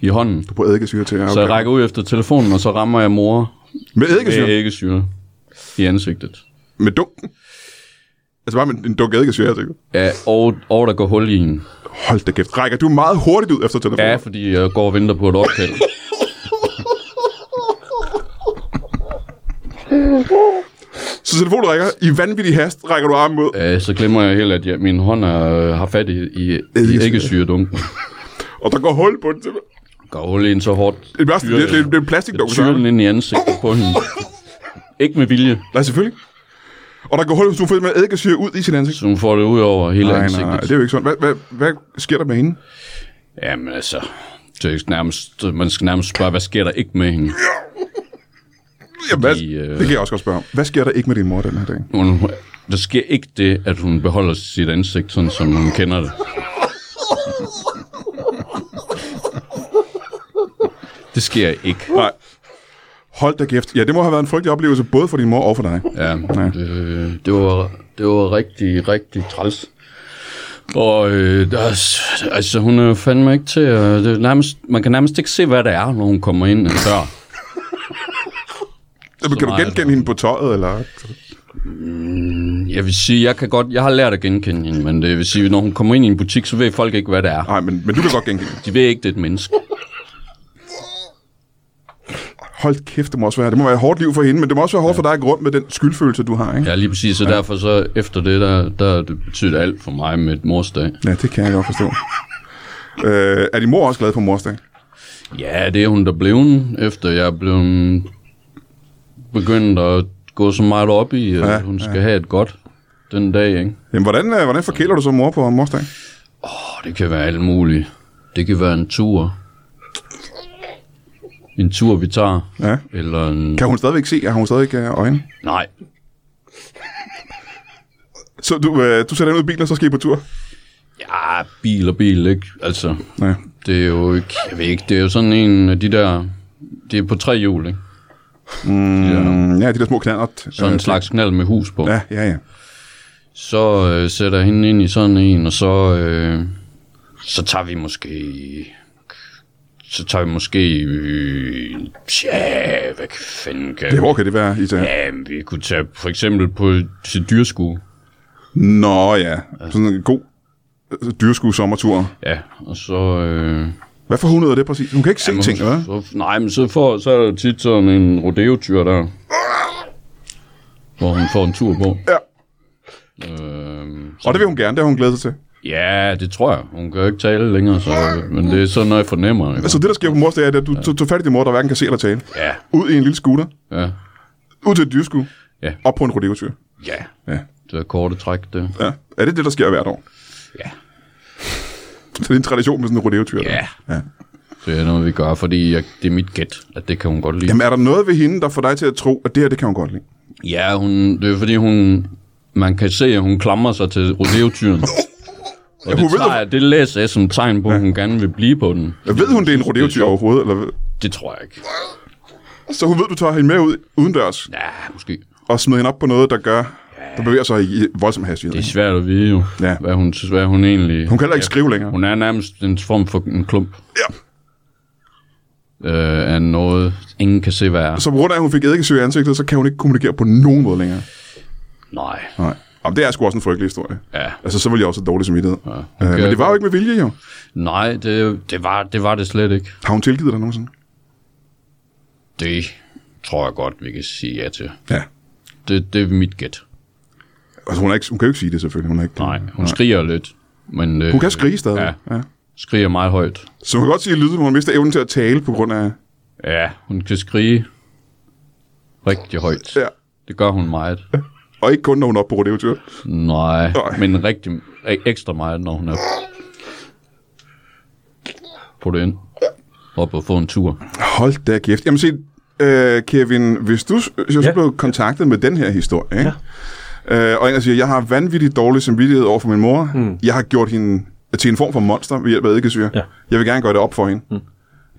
[SPEAKER 4] i hånden.
[SPEAKER 1] Du bruger eddikesyre til. ja,
[SPEAKER 4] Okay.
[SPEAKER 1] Okay.
[SPEAKER 4] Så jeg rækker ud efter telefonen, og så rammer jeg mor
[SPEAKER 1] Med eddikesyre?
[SPEAKER 4] med æggesyre i ansigtet.
[SPEAKER 1] Med dunken? Altså bare med en dunk eddikesyre, altså. ikke?
[SPEAKER 4] Ja, og, og der går hul i en.
[SPEAKER 1] Hold da kæft. Rækker du meget hurtigt ud efter telefonen?
[SPEAKER 4] Ja, fordi jeg går og venter på et opkald.
[SPEAKER 1] Så telefonen rækker. I vanvittig hast rækker du armen ud.
[SPEAKER 4] Ja, Øh, så glemmer jeg helt, at jeg, min hånd er, øh, har fat i, i, i
[SPEAKER 1] Eddikesyre.
[SPEAKER 4] æggesyredunken.
[SPEAKER 1] Og der går hul på den. simpelthen.
[SPEAKER 4] Går hul i en så hårdt.
[SPEAKER 1] Det er, værste, det, det, det er en plastikdunk. så.
[SPEAKER 4] tyrer den ind i ansigtet på hende. Ikke med vilje,
[SPEAKER 1] Nej, selvfølgelig. Og der går hul, så hun får med eddikesyre ud i sin ansigt.
[SPEAKER 4] så hun får det ud over hele
[SPEAKER 1] Nej, nej,
[SPEAKER 4] ansigtet.
[SPEAKER 1] nej, det er jo ikke sådan. Hvad, hvad, hvad sker der med hende?
[SPEAKER 4] Jamen altså, det er ikke nærmest, man skal nærmest spørge, hvad sker der ikke med hende?
[SPEAKER 1] Jamen, hvad,
[SPEAKER 4] Fordi, øh,
[SPEAKER 1] det kan jeg også godt spørge om. Hvad sker der ikke med din mor den her dag?
[SPEAKER 4] Hun, der sker ikke det, at hun beholder sit ansigt, sådan som hun kender det. Det sker ikke.
[SPEAKER 1] Nej. Hold da kæft. Ja, det må have været en frygtelig oplevelse, både for din mor og for dig.
[SPEAKER 4] Ja, Øh,
[SPEAKER 1] Ja.
[SPEAKER 4] det, det, var, det var rigtig, rigtig træls. Og øh, der, er s- altså, hun er fandme ikke til at, det er nærmest, Man kan nærmest ikke se, hvad det er, når hun kommer ind ad dør.
[SPEAKER 1] Jamen, kan du
[SPEAKER 4] meget.
[SPEAKER 1] genkende hende på tøjet, eller?
[SPEAKER 4] Jeg vil sige, jeg kan godt, jeg har lært at genkende hende, men det vil sige, når hun kommer ind i en butik, så ved folk ikke, hvad det er.
[SPEAKER 1] Nej, men, men du kan godt genkende hende.
[SPEAKER 4] De ved ikke, det er et menneske.
[SPEAKER 1] Hold kæft, det må også være. Det må være et hårdt liv for hende, men det må også være hårdt for dig at gå rundt med den skyldfølelse, du har, ikke?
[SPEAKER 4] Ja, lige præcis, så derfor så efter det, der, der det betyder det alt for mig med et morsdag.
[SPEAKER 1] Ja, det kan jeg godt forstå. øh, er din mor også glad for morsdag?
[SPEAKER 4] Ja, det er hun der blev, efter jeg blev begyndt at gå så meget op i, at
[SPEAKER 1] Ja,
[SPEAKER 4] ja, hun skal ja. have et godt den dag, ikke?
[SPEAKER 1] Jamen, hvordan, øh, hvordan forkæler du så mor på morsdag?
[SPEAKER 4] Og det kan være alt muligt. Det kan være en tur. En tur, vi tager.
[SPEAKER 1] Ja.
[SPEAKER 4] Eller en...
[SPEAKER 1] Kan hun stadigvæk se? Har hun stadigvæk øh, øjne?
[SPEAKER 4] Nej.
[SPEAKER 1] Så du, øh, du sætter hende ud i bilen, og så skal I på tur?
[SPEAKER 4] Ja, bil og bil, ikke? Altså,
[SPEAKER 1] Ja.
[SPEAKER 4] det er jo ikke... Jeg ved ikke, det er jo sådan en af de der... Det er på tre hjul, ikke? Mm. Ja,
[SPEAKER 1] Mm, ja, de der små knallert.
[SPEAKER 4] sådan en slags knald med hus på.
[SPEAKER 1] Ja, ja, ja.
[SPEAKER 4] Så øh, sætter jeg hende ind i sådan en, og så, øh, så tager vi måske... Så tager vi måske... Øh, ja, hvad fanden kan...
[SPEAKER 1] Ja, hvor kan det være, Ita?
[SPEAKER 4] Ja, vi kunne tage for eksempel på til dyrskue.
[SPEAKER 1] Nå ja, sådan en god øh, dyrskue sommertur.
[SPEAKER 4] Ja, og så... Øh,
[SPEAKER 1] Hvad for hundrede er det præcis? Hun kan ikke se ting, eller?
[SPEAKER 4] så, nej, men så, får, så er der jo tit sådan en rodeotyr der. Hvor hun får en tur på.
[SPEAKER 1] Ja.
[SPEAKER 4] Øh,
[SPEAKER 1] Og det vil hun gerne, det har hun glædet sig til.
[SPEAKER 4] ja, det tror jeg. Hun kan jo ikke tale længere, så, men det er sådan noget, jeg fornemmer. Ikke?
[SPEAKER 1] Så Altså, det, der sker på mors dag, er, at du ja. tog fat i din mor, der hverken kan se eller tale.
[SPEAKER 4] Ja,
[SPEAKER 1] Ud i en lille scooter,
[SPEAKER 4] ja.
[SPEAKER 1] ud til et dyrskue,
[SPEAKER 4] Ja.
[SPEAKER 1] op på en rodeotyr.
[SPEAKER 4] Ja.
[SPEAKER 1] Ja.
[SPEAKER 4] Det er korte træk, det.
[SPEAKER 1] Ja. Er det det, der sker hvert år?
[SPEAKER 4] Ja.
[SPEAKER 1] Så det er en tradition med sådan en rodeotyr. der. Ja.
[SPEAKER 4] Det er noget, vi gør, fordi jeg, det er mit gæt, at det kan hun godt lide. Jamen.
[SPEAKER 1] Jamen, er der noget ved hende, der får dig til at tro, at det her, det kan hun godt lide?
[SPEAKER 4] Ja, hun, det er fordi, hun, man kan se, at hun klamrer sig til rodeotyren. Og
[SPEAKER 1] hun
[SPEAKER 4] det,
[SPEAKER 1] ved,
[SPEAKER 4] tager, jeg- det læser jeg som tegn på, at hun gerne vil blive på den.
[SPEAKER 1] Ved hun, det er en rodeotyr overhovedet? Eller... hvad?
[SPEAKER 4] Det tror jeg ikke.
[SPEAKER 1] Så hun ved, du tager hende med ud udendørs
[SPEAKER 4] Ja, måske.
[SPEAKER 1] og smider hende op på noget, der gør, der bevæger sig i voldsom hastighed.
[SPEAKER 4] Det er svært at vide jo,
[SPEAKER 1] Ja.
[SPEAKER 4] ja. hvad, hun, hvad hun egentlig...
[SPEAKER 1] Hun kan heller ikke skrive længere.
[SPEAKER 4] Hun er nærmest en form for en klump
[SPEAKER 1] Ja.
[SPEAKER 4] øh, af noget, ingen kan se, hvad er.
[SPEAKER 1] Så på grund af, at hun fik eddikesyre i ansigtet, så kan hun ikke kommunikere på nogen måde længere.
[SPEAKER 4] Nej.
[SPEAKER 1] Nej. Jamen, det er sgu også en frygtelig historie.
[SPEAKER 4] Ja.
[SPEAKER 1] Altså, så ville jeg også have dårlig samvittighed. Ja. Øh, men
[SPEAKER 4] Okay.
[SPEAKER 1] det var jo ikke med vilje, jo.
[SPEAKER 4] Nej, det, det, var, det var det slet ikke.
[SPEAKER 1] Har hun tilgivet dig nogensinde?
[SPEAKER 4] Det tror jeg godt, vi kan sige ja til.
[SPEAKER 1] Ja.
[SPEAKER 4] Det, det er mit gæt.
[SPEAKER 1] Altså, hun, er ikke, hun kan jo ikke sige det, selvfølgelig. Hun er ikke,
[SPEAKER 4] Nej, hun skriger lidt. Men, øh,
[SPEAKER 1] Hun kan skrige stadig.
[SPEAKER 4] Ja,
[SPEAKER 1] ja.
[SPEAKER 4] skriger meget højt.
[SPEAKER 1] Så hun kan godt sige, at lyden, hun mister evnen til at tale på grund af...
[SPEAKER 4] Ja, hun kan skrige rigtig højt.
[SPEAKER 1] Ja.
[SPEAKER 4] Det gør hun meget.
[SPEAKER 1] Og ikke kun, når hun er oppe på rodeotyr.
[SPEAKER 4] Nej,
[SPEAKER 1] Nej.
[SPEAKER 4] men rigtig e- ekstra meget, når hun er på det ind. Op og få en tur.
[SPEAKER 1] Hold da kæft. Jamen se, øh, Kevin, hvis du, hvis du
[SPEAKER 2] Ja.
[SPEAKER 1] ja. blev kontaktet med den her historie, ikke? Ja. Øh, og en, der siger, jeg har vanvittigt dårlig samvittighed over for min mor. Mm. Jeg har gjort hende til en form for monster ved hjælp af eddikesyre.
[SPEAKER 2] Ja.
[SPEAKER 1] Jeg vil gerne gøre det op for hende. Mm. Det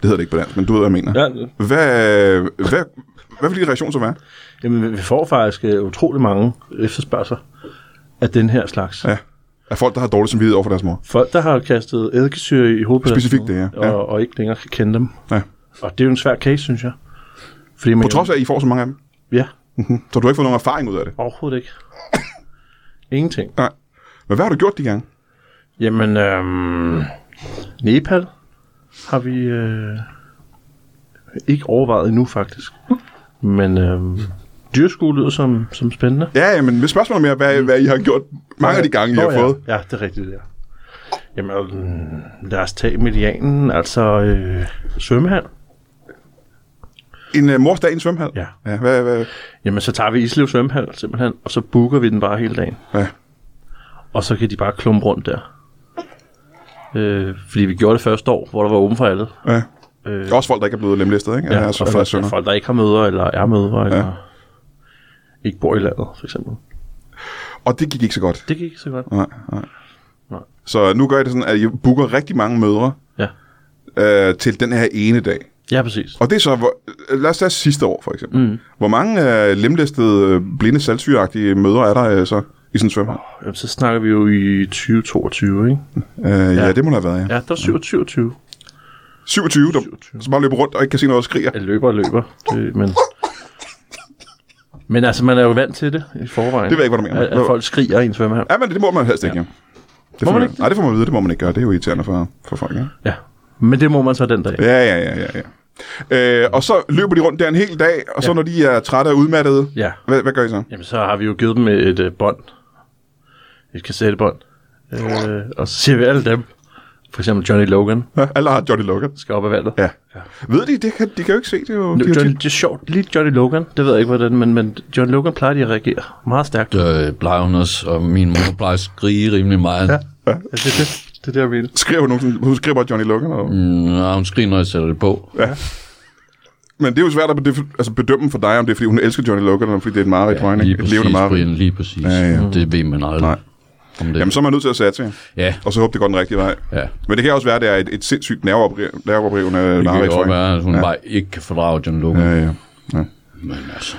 [SPEAKER 1] hedder det ikke på dansk, men du ved, hvad jeg mener.
[SPEAKER 2] Ja, det-
[SPEAKER 1] Hvad, hvad, hvad vil din reaktion så være?
[SPEAKER 2] Jamen, vi- vi får faktisk øh, utrolig mange efterspørgsler af den her slags.
[SPEAKER 1] Ja. Af folk, der har dårlig samvittighed over for deres mor.
[SPEAKER 2] Folk, der har kastet eddikesyre i hovedet på deres
[SPEAKER 1] Specifikt
[SPEAKER 2] mor,
[SPEAKER 1] det, ja. Ja.
[SPEAKER 2] Og, og ikke længere kan kende dem.
[SPEAKER 1] Ja.
[SPEAKER 2] Og det er jo en svær case, synes jeg. Fordi man
[SPEAKER 1] På trods af, at I får så mange af dem.
[SPEAKER 2] Ja,
[SPEAKER 1] Mhm. Så du har ikke fået nogen erfaring ud af det.
[SPEAKER 2] overhovedet ikke. Ingenting.
[SPEAKER 1] Nej. Men hvad har du gjort de gange?
[SPEAKER 2] Jamen, øhm, Nepal har vi øh, ikke overvejet endnu, faktisk. Men øhm, dyrskue lyder som, som spændende.
[SPEAKER 1] Ja, ja, men med spørgsmålet mere, hvad, hvad I har gjort mange af de gange, I
[SPEAKER 2] Nå,
[SPEAKER 1] har
[SPEAKER 2] ja.
[SPEAKER 1] fået.
[SPEAKER 2] Ja, det er rigtigt, ja. Jamen, øh, lad os tage medianen, altså øh, svømmehal.
[SPEAKER 1] En uh, mors dag i en svømmehal?
[SPEAKER 2] Ja.
[SPEAKER 1] ja hvad, hvad,
[SPEAKER 2] Jamen, så tager vi Islev svømmehal simpelthen, og så booker vi den bare hele dagen.
[SPEAKER 1] hvad?
[SPEAKER 2] Og så kan de bare klumpe rundt der. Øh, fordi vi gjorde det første år, hvor der var åben for alle.
[SPEAKER 1] Ja.
[SPEAKER 2] Øh,
[SPEAKER 1] Der er også folk, der ikke er blevet lemlæstet, ikke?
[SPEAKER 2] Ja,
[SPEAKER 1] Eller er- altså
[SPEAKER 2] og
[SPEAKER 1] eller er
[SPEAKER 2] folk,
[SPEAKER 1] sønner.
[SPEAKER 2] folk, der ikke har mødre, eller er mødre, eller ikke bor i landet, for eksempel.
[SPEAKER 1] Og det gik ikke så godt.
[SPEAKER 2] Det gik ikke så godt.
[SPEAKER 1] Nej, nej.
[SPEAKER 2] Nej.
[SPEAKER 1] Så nu gør jeg det sådan, at I booker rigtig mange mødre
[SPEAKER 2] Ja,
[SPEAKER 1] øh, til den her ene dag.
[SPEAKER 2] ja præcis.
[SPEAKER 1] Og det er så, hvor, øh, lad os tage sidste år for eksempel. Mm. Hvor mange øh, lemlæstede, øh, blinde, saltsyreagtige mødre er der øh, så i sådan en svømmehal?
[SPEAKER 2] Jamen, så snakker vi jo i 2022, ikke?
[SPEAKER 1] Øh, ja.
[SPEAKER 2] Ja.
[SPEAKER 1] ja, det må der have været, ja.
[SPEAKER 2] Ja, der er 27.
[SPEAKER 1] 27, der,
[SPEAKER 2] 27.
[SPEAKER 1] som bare løber rundt og ikke kan se noget og skriger.
[SPEAKER 2] Jeg løber og løber, det, men... Men altså, man er jo vant til det i forvejen.
[SPEAKER 1] Det ved jeg ikke, hvad du mener.
[SPEAKER 2] At, at folk skriger i en svømmehal.
[SPEAKER 1] Ja, men det må man helst ikke, ja. Det får
[SPEAKER 2] Må man
[SPEAKER 1] man,
[SPEAKER 2] ikke det?
[SPEAKER 1] Nej, det får man at vide, det må man ikke gøre. Det er jo irriterende for, for folk, ikke?
[SPEAKER 2] Ja. Men det må man så den dag.
[SPEAKER 1] Ja, ja, ja, ja, ja. Øh, og så løber de rundt der en hel dag, og så ja. når de er trætte og udmattede,
[SPEAKER 2] Ja.
[SPEAKER 1] hvad, hvad gør I så?
[SPEAKER 2] Jamen, så har vi jo givet dem et øh, bånd. Et kassettebånd. Øh, og så siger vi alle dem. For eksempel Johnny Logan
[SPEAKER 1] Ja, alle har Johnny Logan.
[SPEAKER 2] skal op ad vandet.
[SPEAKER 1] Ja. ja. Ved de, det kan, de kan jo ikke se det. Jo.
[SPEAKER 2] Nu,
[SPEAKER 1] De, jo
[SPEAKER 2] Johnny,
[SPEAKER 1] tit-
[SPEAKER 2] det er sjovt, lige Johnny Logan, det ved jeg ikke hvordan, men, men Johnny Logan plejer de at reagere meget stærkt. Ja.
[SPEAKER 4] Der øh, plejer hun også, og min mor plejer at skrige rimelig meget. Ja.
[SPEAKER 2] Altså, det, det, det er det, jeg mener.
[SPEAKER 1] skriver hun, sådan- hun skriver Johnny Logan. Og, mm.
[SPEAKER 4] Nå, hun skriger, når jeg sætter det på.
[SPEAKER 1] Men det er jo svært at bedømme, altså bedømme for dig, om det er, fordi hun elsker Johnny Logan, eller fordi det er et meget ja,
[SPEAKER 4] lige
[SPEAKER 1] et
[SPEAKER 4] præcis,
[SPEAKER 1] levende meget.
[SPEAKER 4] Brian, lige præcis.
[SPEAKER 1] Ja, ja.
[SPEAKER 4] Det ved man aldrig.
[SPEAKER 1] Nej.
[SPEAKER 4] Om det.
[SPEAKER 1] Jamen, så er man nødt til at satse, ja.
[SPEAKER 4] ja,
[SPEAKER 1] og så håber det går den rigtige vej.
[SPEAKER 4] ja.
[SPEAKER 1] Men det kan også være, at det er et, et sindssygt nerveoprivende
[SPEAKER 4] Det kan
[SPEAKER 1] narrativ.
[SPEAKER 4] jo også være, at hun ja. bare ikke kan fordrage John Logan.
[SPEAKER 1] Ja,
[SPEAKER 4] Ja.
[SPEAKER 1] ja.
[SPEAKER 4] Men altså,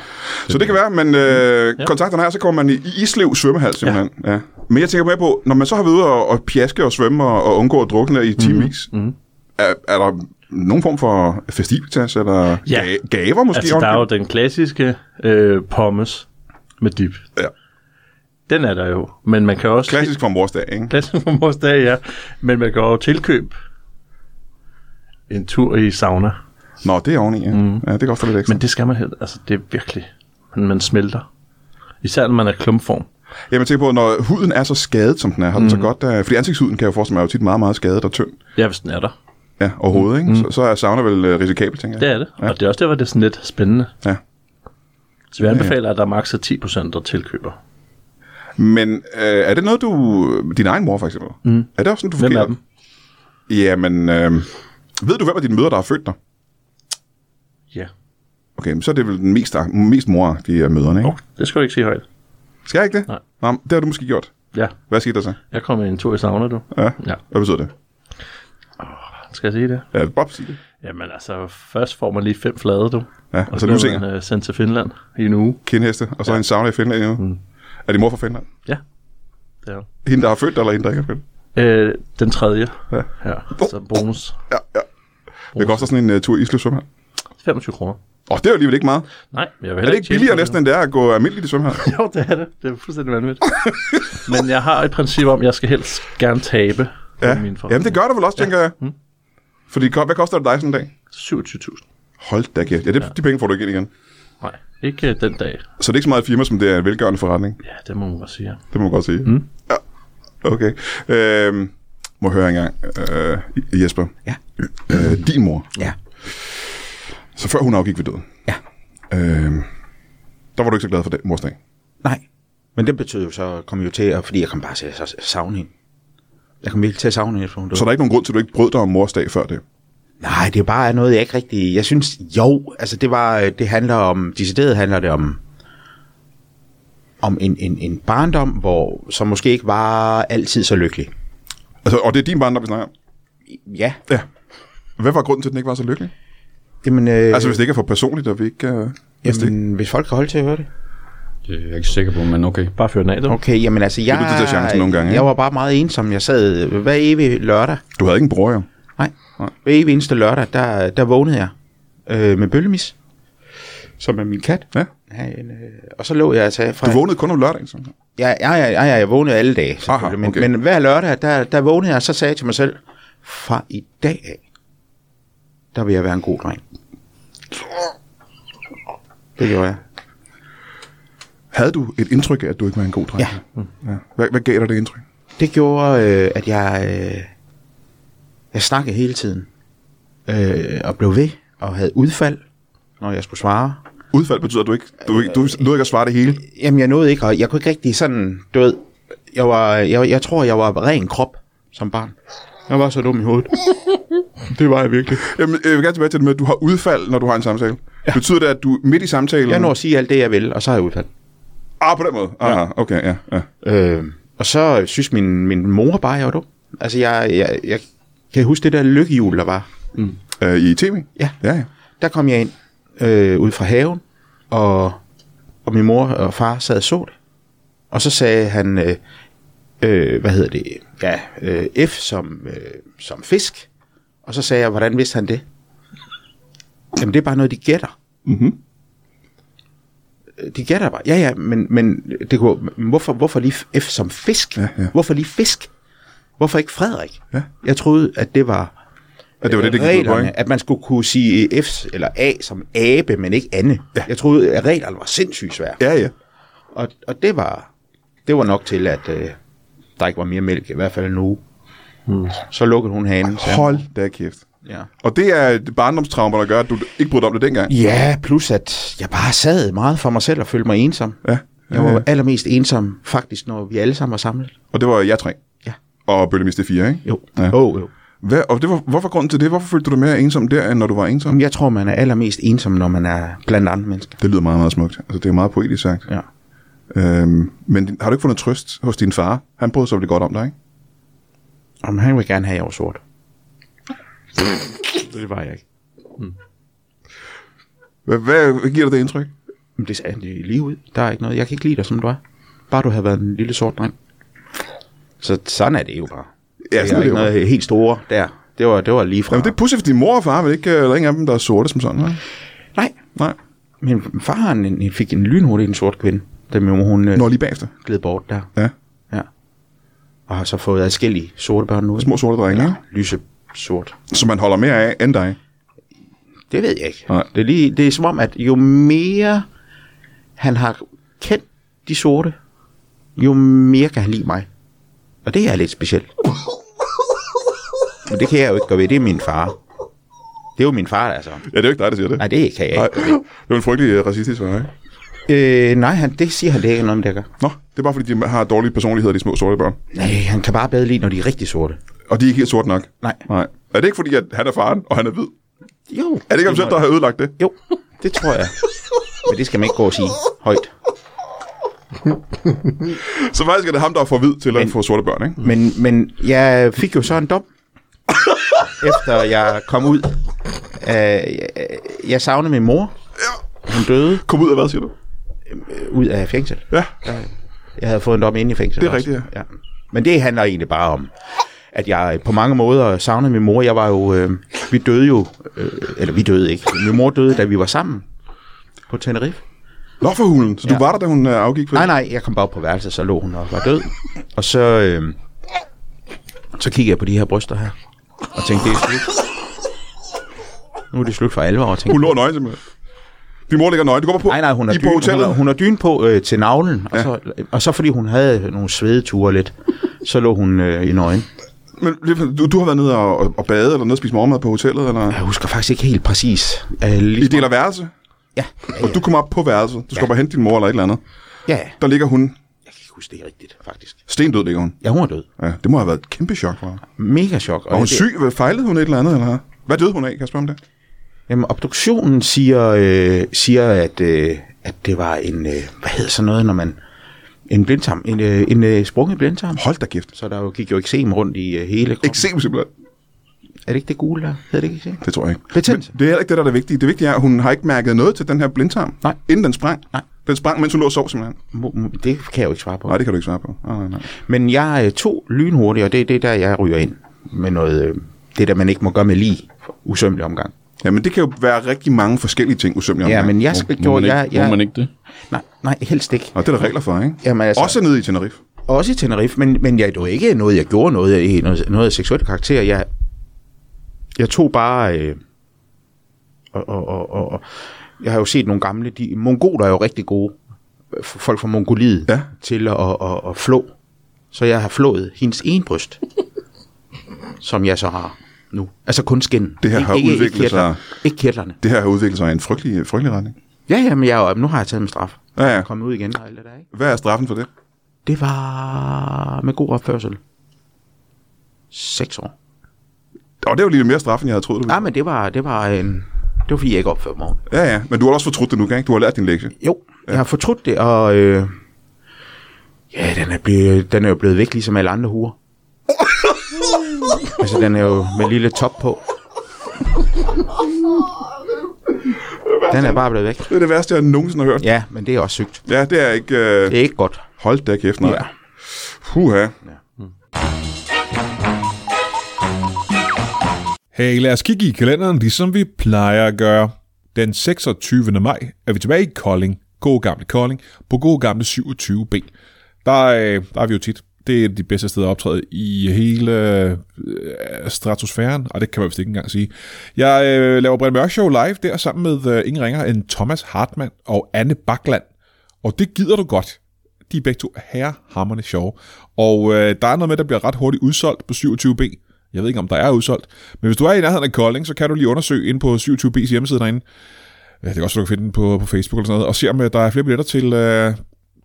[SPEAKER 1] Så det kan være, men øh, kontakterne her, så kommer man i i Islev svømmehal simpelthen. Ja. Ja. Men jeg tænker med på, når man så har været ude og, og pjaske og svømme og, og undgå at drukne i timevis,
[SPEAKER 2] Mhm.
[SPEAKER 1] mm-hmm. er, er der nogen form for festivitas eller
[SPEAKER 2] Ja.
[SPEAKER 1] ja. ga- gaver måske?
[SPEAKER 2] Altså, der er jo den klassiske øh, pommes med dip.
[SPEAKER 1] Ja.
[SPEAKER 2] Den er der jo, men man kan også...
[SPEAKER 1] Klassisk fra mors dag, ikke?
[SPEAKER 2] Klassisk på vores dag, ja. Men man kan jo tilkøbe en tur i sauna.
[SPEAKER 1] Nå, det er oveni, ja. Mm. ja det kan også lidt ekstra.
[SPEAKER 2] Mhm. Men det skal man helt, altså det er virkelig, man, man smelter. Især når man er klumpform.
[SPEAKER 1] Jamen tænk på, når huden er så skadet, som den er, har den
[SPEAKER 2] Mhm.
[SPEAKER 1] så godt... Uh, fordi ansigtshuden kan jeg jo forestille mig er jo tit meget, meget skadet og tynd.
[SPEAKER 2] Ja, hvis den er der.
[SPEAKER 1] Ja, og hovedet, ikke? Så, så er sauna vel uh, risikabel, tænker jeg.
[SPEAKER 2] Det er det. Mhm. Ja. Og det er også der, hvor det er sådan lidt spændende.
[SPEAKER 1] Ja.
[SPEAKER 2] Så vi anbefaler, at der er maks. 10% der tilkøber.
[SPEAKER 1] Men øh, er det noget, du... Din egen mor, for eksempel. Mm. Er det også sådan, du
[SPEAKER 2] Mhm. Hvem
[SPEAKER 1] fungerer?
[SPEAKER 2] af dem?
[SPEAKER 1] Jamen, øh, ved du, hvem af dine mødre, der har født dig?
[SPEAKER 2] Ja.
[SPEAKER 1] Okay, men så er det vel den mest, mest mor, de er møderne, ikke?
[SPEAKER 2] Okay. Det skal du ikke sige højt.
[SPEAKER 1] Skal jeg ikke det?
[SPEAKER 2] Nej.
[SPEAKER 1] Nå, men det har du måske gjort.
[SPEAKER 2] Ja,
[SPEAKER 1] Hvad skete der så?
[SPEAKER 2] jeg kommer en tur i sauna, du.
[SPEAKER 1] Ja.
[SPEAKER 2] Ja.
[SPEAKER 1] Hvad betyder det?
[SPEAKER 2] Skal jeg sige det?
[SPEAKER 1] Ja, bare sig det.
[SPEAKER 2] Jamen altså, først får man lige fem flade, du.
[SPEAKER 1] Ja,
[SPEAKER 2] Og
[SPEAKER 1] og så
[SPEAKER 2] bliver
[SPEAKER 1] Altså lusinger,
[SPEAKER 2] man øh, sendt til Finland i en uge.
[SPEAKER 1] kindheste, og så ja. en sauna i Finland endnu. Mm. Er det mor fra Finland?
[SPEAKER 2] Ja. Det er.
[SPEAKER 1] Hende, der har født dig, eller hende, der ikke har født?
[SPEAKER 2] Øh, den tredje.
[SPEAKER 1] Ja. Oh.
[SPEAKER 2] ja. Så bonus.
[SPEAKER 1] Ja, ja. Det koster sådan en uh, tur i Islev svømmehal.
[SPEAKER 2] 25 kroner.
[SPEAKER 1] Åh, det er jo alligevel ikke meget.
[SPEAKER 2] Nej, men jeg vil
[SPEAKER 1] Er
[SPEAKER 2] heller
[SPEAKER 1] det ikke
[SPEAKER 2] tjene
[SPEAKER 1] billigere
[SPEAKER 2] på det.
[SPEAKER 1] næsten, end det er at gå almindeligt i svømmehal?
[SPEAKER 2] Jo, det er det. Det er fuldstændig vanvittigt. Men jeg har et princip om, at jeg skal helst gerne tabe på
[SPEAKER 1] ja.
[SPEAKER 2] min forretning.
[SPEAKER 1] Jamen, det gør der vel også, tænker ja. jeg. Mm. Fordi, ko- hvad koster det dig sådan en dag?
[SPEAKER 2] 27.000.
[SPEAKER 1] Hold da kæft. Ja, det, ja, de penge får du ikke ind igen.
[SPEAKER 2] Nej, ikke øh, den dag.
[SPEAKER 1] Så det er ikke så meget et firma, som det er en velgørende forretning.
[SPEAKER 2] Ja, det må man godt sige.
[SPEAKER 1] Det må man godt sige. Mm. Ja. Okay. Øhm, må jeg høre engang, øh, Jesper.
[SPEAKER 3] Ja.
[SPEAKER 1] Øh, din mor,
[SPEAKER 3] Ja.
[SPEAKER 1] så før hun afgik ved døden, Øhm,
[SPEAKER 3] Ja.
[SPEAKER 1] øh, der var du ikke så glad for den morsdag.
[SPEAKER 3] Nej. Men det betød jo så, kom jo til, at, fordi jeg kom bare til at sa- savne hende. Jeg kom virkelig til at savne hende. efter hun døde.
[SPEAKER 1] Så der er ikke nogen grund til, at du ikke brød dig om mors dag før det.
[SPEAKER 3] Nej, det er bare noget, jeg ikke rigtig... Jeg synes, jo, altså det var... øh, Det handler om... Decideret handler det om... Om en, en, en barndom, hvor, som måske ikke var altid så lykkelig.
[SPEAKER 1] Altså, og det er din barndom, vi snakker om.
[SPEAKER 3] Ja.
[SPEAKER 1] Ja. Hvad var grunden til, at den ikke var så lykkelig?
[SPEAKER 3] Jamen, øh,
[SPEAKER 1] Altså, hvis det ikke er for personligt, og vi ikke... Uh, hvis det ikke...
[SPEAKER 3] jamen, hvis folk kan holde til at høre det.
[SPEAKER 4] Det er jeg ikke sikker på, men okay.
[SPEAKER 2] Bare fyr den af, du.
[SPEAKER 3] Okay, jamen altså, jeg,
[SPEAKER 1] du tager chancen nogle gange, ikke?
[SPEAKER 3] jeg var bare meget ensom. Jeg sad øh, hver evig lørdag.
[SPEAKER 1] Du havde ikke en bror, jo.
[SPEAKER 3] Nej, hver evig eneste lørdag, der, der vågnede jeg øh, med bøllemis. Som er min kat.
[SPEAKER 1] Ja.
[SPEAKER 3] Ja, en, øh, og så lå jeg altså fra...
[SPEAKER 1] Du vågnede kun om lørdagen, så.
[SPEAKER 3] Ja, ja, ja, ja, ja jeg vågnede alle dage. selvfølgelig,
[SPEAKER 1] Aha,
[SPEAKER 3] men,
[SPEAKER 1] okay.
[SPEAKER 3] men hver lørdag, der, der vågnede jeg, og så sagde jeg til mig selv, fra i dag af, der vil jeg være en god dreng. Det gjorde jeg.
[SPEAKER 1] Havde du et indtryk af, at du ikke var en god dreng?
[SPEAKER 3] Ja.
[SPEAKER 1] ja. Hvad, hvad gav dig det indtryk?
[SPEAKER 3] Det gjorde, øh, at jeg, øh, jeg snakkede hele tiden, øh, og blev ved, og havde udfald, når jeg skulle svare.
[SPEAKER 1] Udfald betyder, at du ikke, du, ikke- du, du, du ikke at svare det hele.
[SPEAKER 3] Jamen, jeg nåede ikke, og jeg kunne ikke rigtig sådan, du ved, jeg, var, jeg, jeg tror, jeg var ren krop som barn. Jeg var så dum i hovedet. det var jeg virkelig.
[SPEAKER 1] Jamen, øh, jeg vil gerne tilbage til det med, at du har udfald, når du har en samtale. Ja. Betyder det, at du midt i samtalen...
[SPEAKER 3] Jeg når at sige alt det, jeg vil, og så har jeg udfald.
[SPEAKER 1] Ah, på den måde. Aha, okay, ja, ja.
[SPEAKER 3] Øh, og så synes min, min mor bare, jeg var dum. Altså, jeg, jeg, jeg kan huske det der lykkehjul, der var.
[SPEAKER 1] Øh, I tv?
[SPEAKER 3] Ja.
[SPEAKER 1] Ja, ja.
[SPEAKER 3] Der kom jeg ind øh, ud fra haven, og, og min mor og far sad og så det. Og så sagde han, øh, øh, hvad hedder det, ja, øh, F som, øh, som fisk. Og så sagde jeg, hvordan vidste han det? Jamen, det er bare noget, de gætter. Mm-hmm. De gætter bare. Ja, ja, men, men det kunne, men hvorfor, hvorfor lige F som fisk?
[SPEAKER 1] Ja, ja.
[SPEAKER 3] Hvorfor lige fisk? Hvorfor ikke Frederik?
[SPEAKER 1] Ja.
[SPEAKER 3] Jeg troede, at det var
[SPEAKER 1] At det var det, det gik ud på, ikke?
[SPEAKER 3] reglerne, at man skulle kunne sige F eller A som abe, men ikke Anne. Ja. Jeg troede, at reglerne var sindssygt svære.
[SPEAKER 1] Ja, ja.
[SPEAKER 3] Og, og det, var, det var nok til, at øh, der ikke var mere mælk, i hvert fald nu. Hmm. Så lukkede hun hanen. sagde hun.
[SPEAKER 1] Hold da kæft.
[SPEAKER 3] Ja.
[SPEAKER 1] Og det er et barndomstraumer, der gør, at du ikke brød dig om det dengang.
[SPEAKER 3] ja, plus at jeg bare sad meget for mig selv og følte mig ensom.
[SPEAKER 1] Ja.
[SPEAKER 3] Jeg var allermest ensom, faktisk, når vi alle sammen var samlet.
[SPEAKER 1] Og det var jeg tre.
[SPEAKER 3] Ja.
[SPEAKER 1] Og Bølle Miste 4, ikke?
[SPEAKER 3] Jo.
[SPEAKER 1] Ja.
[SPEAKER 3] Ja. Oh, jo.
[SPEAKER 1] Hvad, og det var, hvorfor grunden til det? Hvorfor følte du dig mere ensom der, end når du var ensom?
[SPEAKER 3] Jeg tror, man er allermest ensom, når man er blandt andre mennesker.
[SPEAKER 1] Det lyder meget, meget smukt. Altså, det er meget poetisk sagt.
[SPEAKER 3] Ja.
[SPEAKER 1] Øhm, men din- har du ikke fundet trøst hos din far? Han brød sig vel godt om dig, ikke?
[SPEAKER 3] Om han vil gerne have, at jeg var sort. det var jeg ikke.
[SPEAKER 1] Hvad, hvad, hvad giver dig det indtryk?
[SPEAKER 3] Men det sagde han det lige ud. Der er ikke noget. Jeg kan ikke lide dig, som du er. Bare du havde været en lille sort dreng. Så sådan er det jo bare.
[SPEAKER 1] Ja,
[SPEAKER 3] det er
[SPEAKER 1] sådan er det
[SPEAKER 3] ikke
[SPEAKER 1] jo.
[SPEAKER 3] noget helt store der. Det var, det var lige fra.
[SPEAKER 1] Jamen, det er pudsigt, fordi din mor og far vel ikke, øh, der er ingen af dem, der er sorte som sådan, nej?
[SPEAKER 3] Nej,
[SPEAKER 1] Nej.
[SPEAKER 3] min far han, han fik en lynhurtig en sort kvinde, da min mor hun øh,
[SPEAKER 1] Nå, lige bagefter.
[SPEAKER 3] gled bort der.
[SPEAKER 1] Ja.
[SPEAKER 3] ja. Og har så fået adskillige sorte børn nu.
[SPEAKER 1] Altså, Små sorte drenge, ja.
[SPEAKER 3] Lyse sort.
[SPEAKER 1] Som man holder mere af end dig.
[SPEAKER 3] Det ved jeg ikke.
[SPEAKER 1] Nej.
[SPEAKER 3] Det, er lige, det er som om, at jo mere han har kendt de sorte, jo mere kan han lide mig. Og det er lidt specielt. Men det kan jeg jo ikke gøre ved. Det er min far. Det er jo min far, altså.
[SPEAKER 1] Ja, det er jo ikke dig, der siger det.
[SPEAKER 3] Nej, det kan jeg
[SPEAKER 1] Nej.
[SPEAKER 3] ikke.
[SPEAKER 1] Det var en frygtelig øh, racistisk svar, ikke?
[SPEAKER 3] Øh, nej, han, det siger han det er ikke noget om, det gør.
[SPEAKER 1] Nå, det er bare fordi, de har dårlige personligheder, de små sorte børn.
[SPEAKER 3] Nej, han kan bare bedre lide, når de er rigtig sorte.
[SPEAKER 1] Og de er ikke helt sorte nok.
[SPEAKER 3] Nej.
[SPEAKER 1] Nej. Er det ikke fordi, at han er faren, og han er hvid?
[SPEAKER 3] Jo.
[SPEAKER 1] Er det ikke ham selv, der har ødelagt det?
[SPEAKER 3] Jo, det tror jeg. Men det skal man ikke gå og sige højt.
[SPEAKER 1] Så faktisk er det ham, der får hvid til at få sorte børn, ikke?
[SPEAKER 3] Men, men jeg fik jo så en dom, efter jeg kom ud. Øh, jeg, jeg savnede min mor. Hun døde
[SPEAKER 1] Kom ud af hvad, siger du?
[SPEAKER 3] ud af fængsel.
[SPEAKER 1] Ja.
[SPEAKER 3] Jeg havde fået en dom inde i fængsel.
[SPEAKER 1] Det er
[SPEAKER 3] også.
[SPEAKER 1] rigtigt,
[SPEAKER 3] ja. Men det handler egentlig bare om, at jeg på mange måder savnede min mor. Jeg var jo, øh, vi døde jo, øh, eller vi døde ikke. Min mor døde, da vi var sammen på Tenerife.
[SPEAKER 1] Nå for hulen. Så du
[SPEAKER 3] Ja.
[SPEAKER 1] var der, da hun øh, afgik? for-
[SPEAKER 3] Nej, nej, jeg kom bare op på værelset, så lå hun og var død. Og så, øh, så kiggede jeg på de her bryster her, og tænkte, det er slut. Nu er det slut for alvor, og
[SPEAKER 1] Hun
[SPEAKER 3] tænkte,
[SPEAKER 1] lå nøgen simpelthen. Din mor ligger nøgen. Du går på.
[SPEAKER 3] nej, nej, hun har
[SPEAKER 1] I på
[SPEAKER 3] dyne, hun
[SPEAKER 1] hotellet.
[SPEAKER 3] har, hun har dyne på øh, til navlen, og, så, og så fordi hun havde nogle svedeture lidt, så lå hun øh, i nøgen.
[SPEAKER 1] Men lige- du, du har været nede og, og, og bade, eller nede og spise morgenmad på hotellet, eller?
[SPEAKER 3] Jeg husker faktisk ikke helt præcis. Øh,
[SPEAKER 1] I
[SPEAKER 3] lige,
[SPEAKER 1] deler værelse,
[SPEAKER 3] ja,
[SPEAKER 1] og du kommer op på værelset. Du skal ja. bare hente din mor eller et eller andet.
[SPEAKER 3] ja,
[SPEAKER 1] Der ligger hun
[SPEAKER 3] Jeg kan ikke huske det rigtigt, faktisk.
[SPEAKER 1] Sten død ligger hun.
[SPEAKER 3] Ja, hun er død.
[SPEAKER 1] Ja, det må have været et kæmpe chok for hende.
[SPEAKER 3] Mega chok.
[SPEAKER 1] Var hun
[SPEAKER 3] det-
[SPEAKER 1] syg? Hvad- Fejlede hun et eller andet? Eller? hvad? Hvad døde hun af? Kan jeg spørge om det?
[SPEAKER 3] Jamen, obduktionen siger, øh, siger at, øh, at det var en, øh, hvad hedder sådan noget, når man, en blindtarm, en, øh, en øh, sprunget blindtarm.
[SPEAKER 1] Hold da kæft.
[SPEAKER 3] Så der jo gik jo eksem rundt i øh, hele kroppen.
[SPEAKER 1] Eksem simpelthen.
[SPEAKER 3] er det ikke det gule der? Hedder det ikke eksem?
[SPEAKER 1] Det tror jeg ikke.
[SPEAKER 3] Betændelse.
[SPEAKER 1] Men Det er heller ikke det, der er det vigtige. Det vigtige er, at hun har ikke mærket noget til den her blindtarm,
[SPEAKER 3] Nej.
[SPEAKER 1] inden den sprang.
[SPEAKER 3] Nej.
[SPEAKER 1] Den sprang, mens hun lå og sov simpelthen.
[SPEAKER 3] Mo- mo- Det kan jeg jo ikke svare på.
[SPEAKER 1] Nej, det kan du ikke svare på. Ah, Nej, nej, nej.
[SPEAKER 3] Men jeg øh, tog lynhurtigt, og det er det, der jeg ryger ind med noget, øh, det der man ikke må gøre med lige usømmelig omgang.
[SPEAKER 1] Ja, men det kan jo være rigtig mange forskellige ting, usømmelig
[SPEAKER 3] Ja,
[SPEAKER 1] omgang.
[SPEAKER 3] men jeg
[SPEAKER 4] Må,
[SPEAKER 3] skal
[SPEAKER 4] må, man
[SPEAKER 3] gjorde
[SPEAKER 4] ikke,
[SPEAKER 3] jeg,
[SPEAKER 4] må man
[SPEAKER 3] jeg
[SPEAKER 4] ikke det?
[SPEAKER 3] nej, nej, helst ikke.
[SPEAKER 1] Og det er der regler for, ikke?
[SPEAKER 3] Jamen, altså-
[SPEAKER 1] Også nede i Tenerife.
[SPEAKER 3] Også i Tenerife, men, men jeg, det var ikke noget, jeg gjorde noget, i- noget, noget af seksuel karakter. Jeg, jeg tog bare... Øh, og, og, og, og, og, jeg har jo set nogle gamle... De, mongoler er jo rigtig gode. F- Folk fra Mongoliet.
[SPEAKER 1] Ja.
[SPEAKER 3] Til at, at, at, at flå. Så jeg har flået hendes ene bryst. som jeg så har nu. Altså kun skinnen.
[SPEAKER 1] Det her har udviklet
[SPEAKER 3] ikke kirtlerne.
[SPEAKER 1] sig-
[SPEAKER 3] Ikke kirtlerne.
[SPEAKER 1] Det her har udviklet sig i en frygtelig, frygtelig retning.
[SPEAKER 3] Ja, ja, men jeg, er jo- nu har jeg taget min straf.
[SPEAKER 1] Ja, ja.
[SPEAKER 3] Kommet ud igen og alt det der, ikke?
[SPEAKER 1] Hvad er straffen for det?
[SPEAKER 3] Det var med god opførsel. Seks år.
[SPEAKER 1] Og det er jo lige mere straf, end jeg havde troet, du ville.
[SPEAKER 3] Ja, men det var, det var en... Det var fordi, jeg ikke opførte mig ordentligt.
[SPEAKER 1] Ja, ja. Men du har også fortrudt det nu, ikke? Du har lært din lektie.
[SPEAKER 3] Jo, jeg har fortrudt det, og... Øh, ja, den er, blevet, den er jo blevet væk, ligesom alle andre huer. altså, den er jo med lille top på. Den er bare blevet væk.
[SPEAKER 1] Det er det værste, jeg nogensinde har hørt.
[SPEAKER 3] Ja, men det er også sygt.
[SPEAKER 1] Ja, det er ikke... Øh...
[SPEAKER 3] Det er ikke godt.
[SPEAKER 1] Hold da kæft, nej.
[SPEAKER 3] Ja.
[SPEAKER 1] Puha.
[SPEAKER 5] Hey, lad os kigge i kalenderen, ligesom vi plejer at gøre. Den 26. maj er vi tilbage i Kolding. God gamle Kolding på god gamle 27B. Der, øh, der er vi jo tit. Det er et af de bedste steder at optræde i hele øh, stratosfæren, og det kan man vist ikke engang sige. Jeg øh, laver Brian Mørk Show live der sammen med øh, ingen ringer end Thomas Hartmann og Anne Bakland. Og det gider du godt. De er begge to herrehammerne sjove. Og øh, der er noget med, der bliver ret hurtigt udsolgt på 27B. Jeg ved ikke, om der er udsolgt. Men hvis du er i nærheden af Kolding, så kan du lige undersøge ind på 27B's hjemmeside derinde. Ja, det kan også, du kan finde den på, på Facebook eller sådan noget. Og se, om øh, der er flere billetter til øh,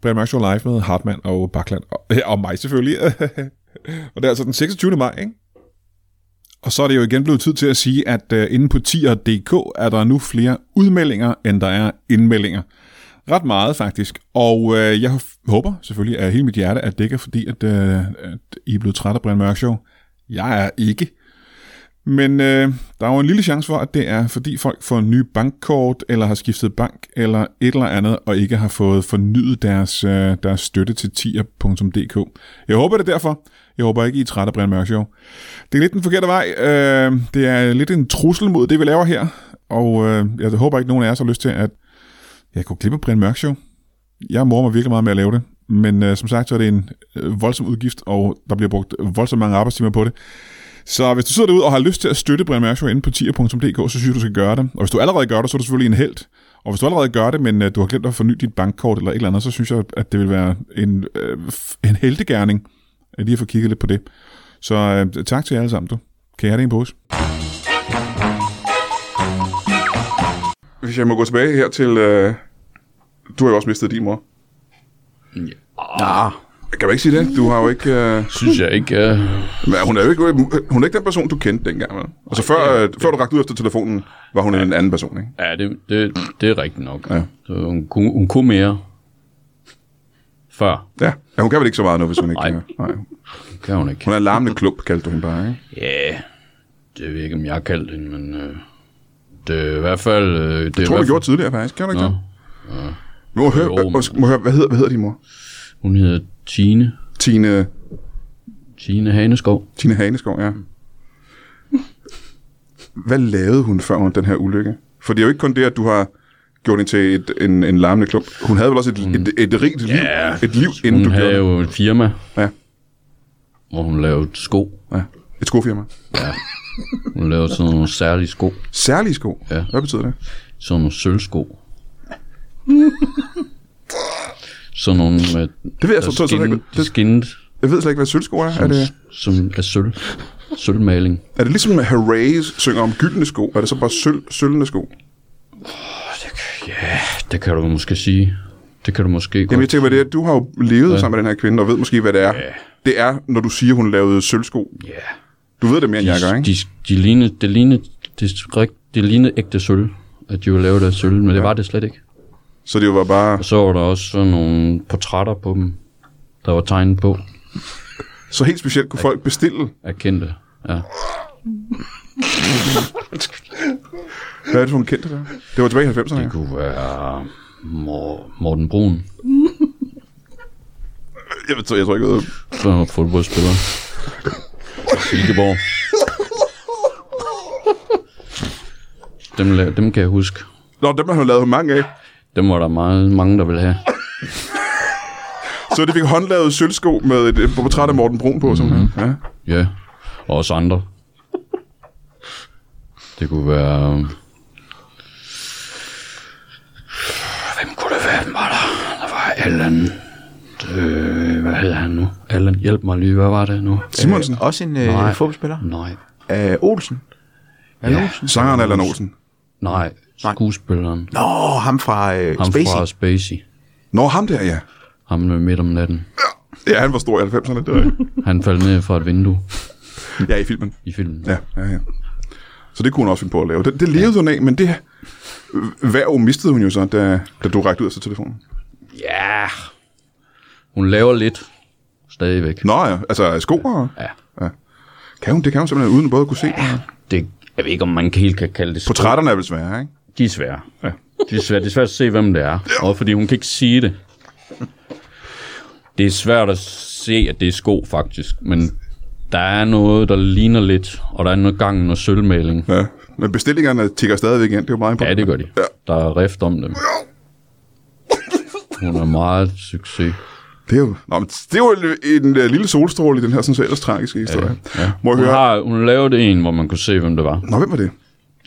[SPEAKER 5] Brian Mørk Show Live med Hartmann og Bakland. Og, ja, og mig selvfølgelig. og det er altså den 26. maj, ikke? Og så er det jo igen blevet tid til at sige, at øh, inde på tier.dk er der nu flere udmeldinger, end der er indmeldinger. Ret meget faktisk, og øh, jeg håber selvfølgelig af hele mit hjerte, at det ikke er fordi, at, øh, at I er blevet træt af Brian Mørk Show. Jeg er ikke. Men øh, der er jo en lille chance for, at det er fordi folk får nye bankkort, eller har skiftet bank, eller et eller andet, og ikke har fået fornyet deres, øh, deres støtte til tier.dk. Jeg håber det er derfor. Jeg håber ikke, I er trætte af Brian Mørk Show. Det er lidt den forkerte vej. Øh, det er lidt en trussel mod det, vi laver her. Og øh, jeg håber ikke, nogen af jer har lyst til, at jeg kunne klippe Brian Mørk Show. Jeg morer mig virkelig meget med at lave det. Men øh, som sagt, så er det en øh, voldsom udgift, og der bliver brugt voldsomt mange arbejdstimer på det. Så hvis du sidder derude og har lyst til at støtte Brian Mørk Show inde på tier.dk, så synes jeg, du skal gøre det. Og hvis du allerede gør det, så er du selvfølgelig en held. Og hvis du allerede gør det, men øh, du har glemt at forny dit bankkort eller et eller andet, så synes jeg, at det vil være en, øh, f- en heltegærning øh, lige at få kigget lidt på det. Så øh, tak til jer alle sammen, du. Kan jeg have det i en pose?
[SPEAKER 1] Hvis jeg må gå tilbage her til... Øh... Du har jo også mistet din mor.
[SPEAKER 3] Nå,
[SPEAKER 1] Kan man ikke sige det? Du har jo ikke... Øh...
[SPEAKER 4] Synes jeg ikke. Uh...
[SPEAKER 1] Men hun er jo ikke, hun er ikke den person, du kendte dengang, vel? Altså før, øh, før du rakte ud efter telefonen, var hun en anden person, ikke?
[SPEAKER 4] Ja, det, det, det er rigtigt nok.
[SPEAKER 1] Ja.
[SPEAKER 4] Så hun, kunne, hun kunne mere. Før.
[SPEAKER 1] Ja. ja hun kan vel ikke så meget nu, hvis hun ikke
[SPEAKER 4] Nej.
[SPEAKER 1] kan. Nej.
[SPEAKER 4] Det kan hun ikke.
[SPEAKER 1] Hun er en larmende klump, kaldte du hende bare, ikke?
[SPEAKER 4] Ja, det ved jeg ikke, om jeg har kaldt hende, men øh, det er i hvert fald... Øh, det
[SPEAKER 1] Jeg
[SPEAKER 4] er i
[SPEAKER 1] tror,
[SPEAKER 4] hvert
[SPEAKER 1] du
[SPEAKER 4] fald,
[SPEAKER 1] gjorde tidligere, faktisk. Kan du ikke
[SPEAKER 4] Nå.
[SPEAKER 1] det? Må jeg høre,
[SPEAKER 4] Jo,
[SPEAKER 1] øh,
[SPEAKER 4] men-
[SPEAKER 1] undskyld, må jeg høre, hvad hedder, hvad hedder din mor?
[SPEAKER 4] Hun hedder Tine.
[SPEAKER 1] Tine,
[SPEAKER 4] Tine Haneskov.
[SPEAKER 1] Tine Haneskov, ja. Hvad lavede hun før hun den her ulykke? For det er jo ikke kun det, at du har gjort hende til et, en, en larmende klump. Hun havde vel også et, et, et rigt liv, et liv inden
[SPEAKER 4] Mm. Hun
[SPEAKER 1] du gjorde
[SPEAKER 4] havde
[SPEAKER 1] det.
[SPEAKER 4] jo et firma,
[SPEAKER 1] Ja,
[SPEAKER 4] hvor hun lavede sko.
[SPEAKER 1] ja. Et skofirma.
[SPEAKER 4] Hun lavede sådan nogle særlige sko.
[SPEAKER 1] Særlige sko?
[SPEAKER 4] Ja.
[SPEAKER 1] Hvad betyder det?
[SPEAKER 4] Sådan nogle sølvsko. sådan nogle med...
[SPEAKER 1] Det ved jeg
[SPEAKER 4] der
[SPEAKER 1] så- så- så-
[SPEAKER 4] skinnede-
[SPEAKER 1] det-
[SPEAKER 4] de skinnede,
[SPEAKER 1] Jeg ved slet ikke, hvad sølvsko er. Er det,
[SPEAKER 4] som er sølv. Sølvmaling.
[SPEAKER 1] er det ligesom, at Harays synger om gyldne sko? Er det så bare sølv, sølvende sko?
[SPEAKER 4] Ja, det kan du måske sige. Det kan du måske godt.
[SPEAKER 1] Jamen, jeg tænker på det, at du har jo levet ja. sammen med den her kvinde, og ved måske, hvad det er. Ja. Det er, når du siger, hun lavede sølvsko.
[SPEAKER 4] Ja.
[SPEAKER 1] Du ved det mere, end jeg gør,
[SPEAKER 4] De,
[SPEAKER 1] ikke?
[SPEAKER 4] de, de lignede, det lignede, det, er rigt- det lignede ægte sølv, at de ville lave det af sølv, men det var det slet ikke.
[SPEAKER 1] Så det var bare...
[SPEAKER 4] Og så var der også sådan nogle portrætter på dem, der var tegnet på
[SPEAKER 1] Så helt specielt kunne folk bestille.
[SPEAKER 4] af kendte. Ja.
[SPEAKER 1] Hvad er det for en kendte der? Det var tilbage i 90'erne.
[SPEAKER 4] Det
[SPEAKER 1] ja.
[SPEAKER 4] kunne være Mor- Morten Brun,
[SPEAKER 1] Jeg, ved, jeg tror ikke, jeg ved.
[SPEAKER 4] som var fodboldspiller. Silkeborg. Dem, la- dem kan jeg huske.
[SPEAKER 1] Nå, dem har hun lavet mange af.
[SPEAKER 4] Dem var der meget, mange, der ville have.
[SPEAKER 1] Så det fik håndlavet sølvsko med et, et portræt af Morten Brun på, simpelthen. Ja.
[SPEAKER 4] Ja, og os andre. Det kunne være... øh, Hvem kunne det være, den var der? Der var Allan... Øh, hvad hed han nu? Allan, hjælp mig lige. Hvad var det nu?
[SPEAKER 1] Simonsen.
[SPEAKER 3] Øh, også en øh,
[SPEAKER 4] Nej.
[SPEAKER 3] fodboldspiller.
[SPEAKER 4] Nej.
[SPEAKER 3] Øh, Olsen.
[SPEAKER 4] Ja.
[SPEAKER 1] Sangeren Allan Olsen.
[SPEAKER 4] Nej, skuespilleren.
[SPEAKER 3] Nå, ham fra øh,
[SPEAKER 4] Ham
[SPEAKER 3] Spacey.
[SPEAKER 4] fra Spacey.
[SPEAKER 1] Nå, ham der, ja.
[SPEAKER 4] Ham med midt om natten.
[SPEAKER 1] Ja, han var stor i 90'erne. Det var jeg.
[SPEAKER 4] Han faldt ned fra et vindue
[SPEAKER 1] ja, i filmen.
[SPEAKER 4] i filmen.
[SPEAKER 1] Ja, ja, ja. Så det kunne hun også finde på at lave. Det, det levede hun af, men det værv mistede hun jo så, da, da du rækte ud efter telefonen.
[SPEAKER 4] ja. Hun laver lidt. Stadigvæk.
[SPEAKER 1] Nå ja, altså sko og...
[SPEAKER 4] Ja.
[SPEAKER 1] Kan hun, det kan hun simpelthen uden både at kunne se.
[SPEAKER 4] Det, jeg ved ikke, om man helt kan kalde det
[SPEAKER 1] Portrætterne er vel svære, ikke?
[SPEAKER 4] De er svære. Ja. De er svære. Det er svært at se, hvem det er. Og fordi hun kan ikke sige det. Det er svært at se, at det er sko, faktisk. Men der er noget, der ligner lidt, og der er noget gang i noget sølvmaling.
[SPEAKER 1] Ja. Men bestillingerne tigger stadigvæk ind, det er jo meget
[SPEAKER 4] Ja,
[SPEAKER 1] imponerende.
[SPEAKER 4] det gør de. Der er rift om dem. Hun er meget succes.
[SPEAKER 1] Det er jo, nå, men det er jo en, en, øh, lille solstråle i den her sådan så ellers tragiske historie. Ja. Må jeg
[SPEAKER 4] Hun,
[SPEAKER 1] høre? Har...
[SPEAKER 4] har, hun lavede en, hvor man kunne se, hvem det var.
[SPEAKER 1] Nå, hvem var det?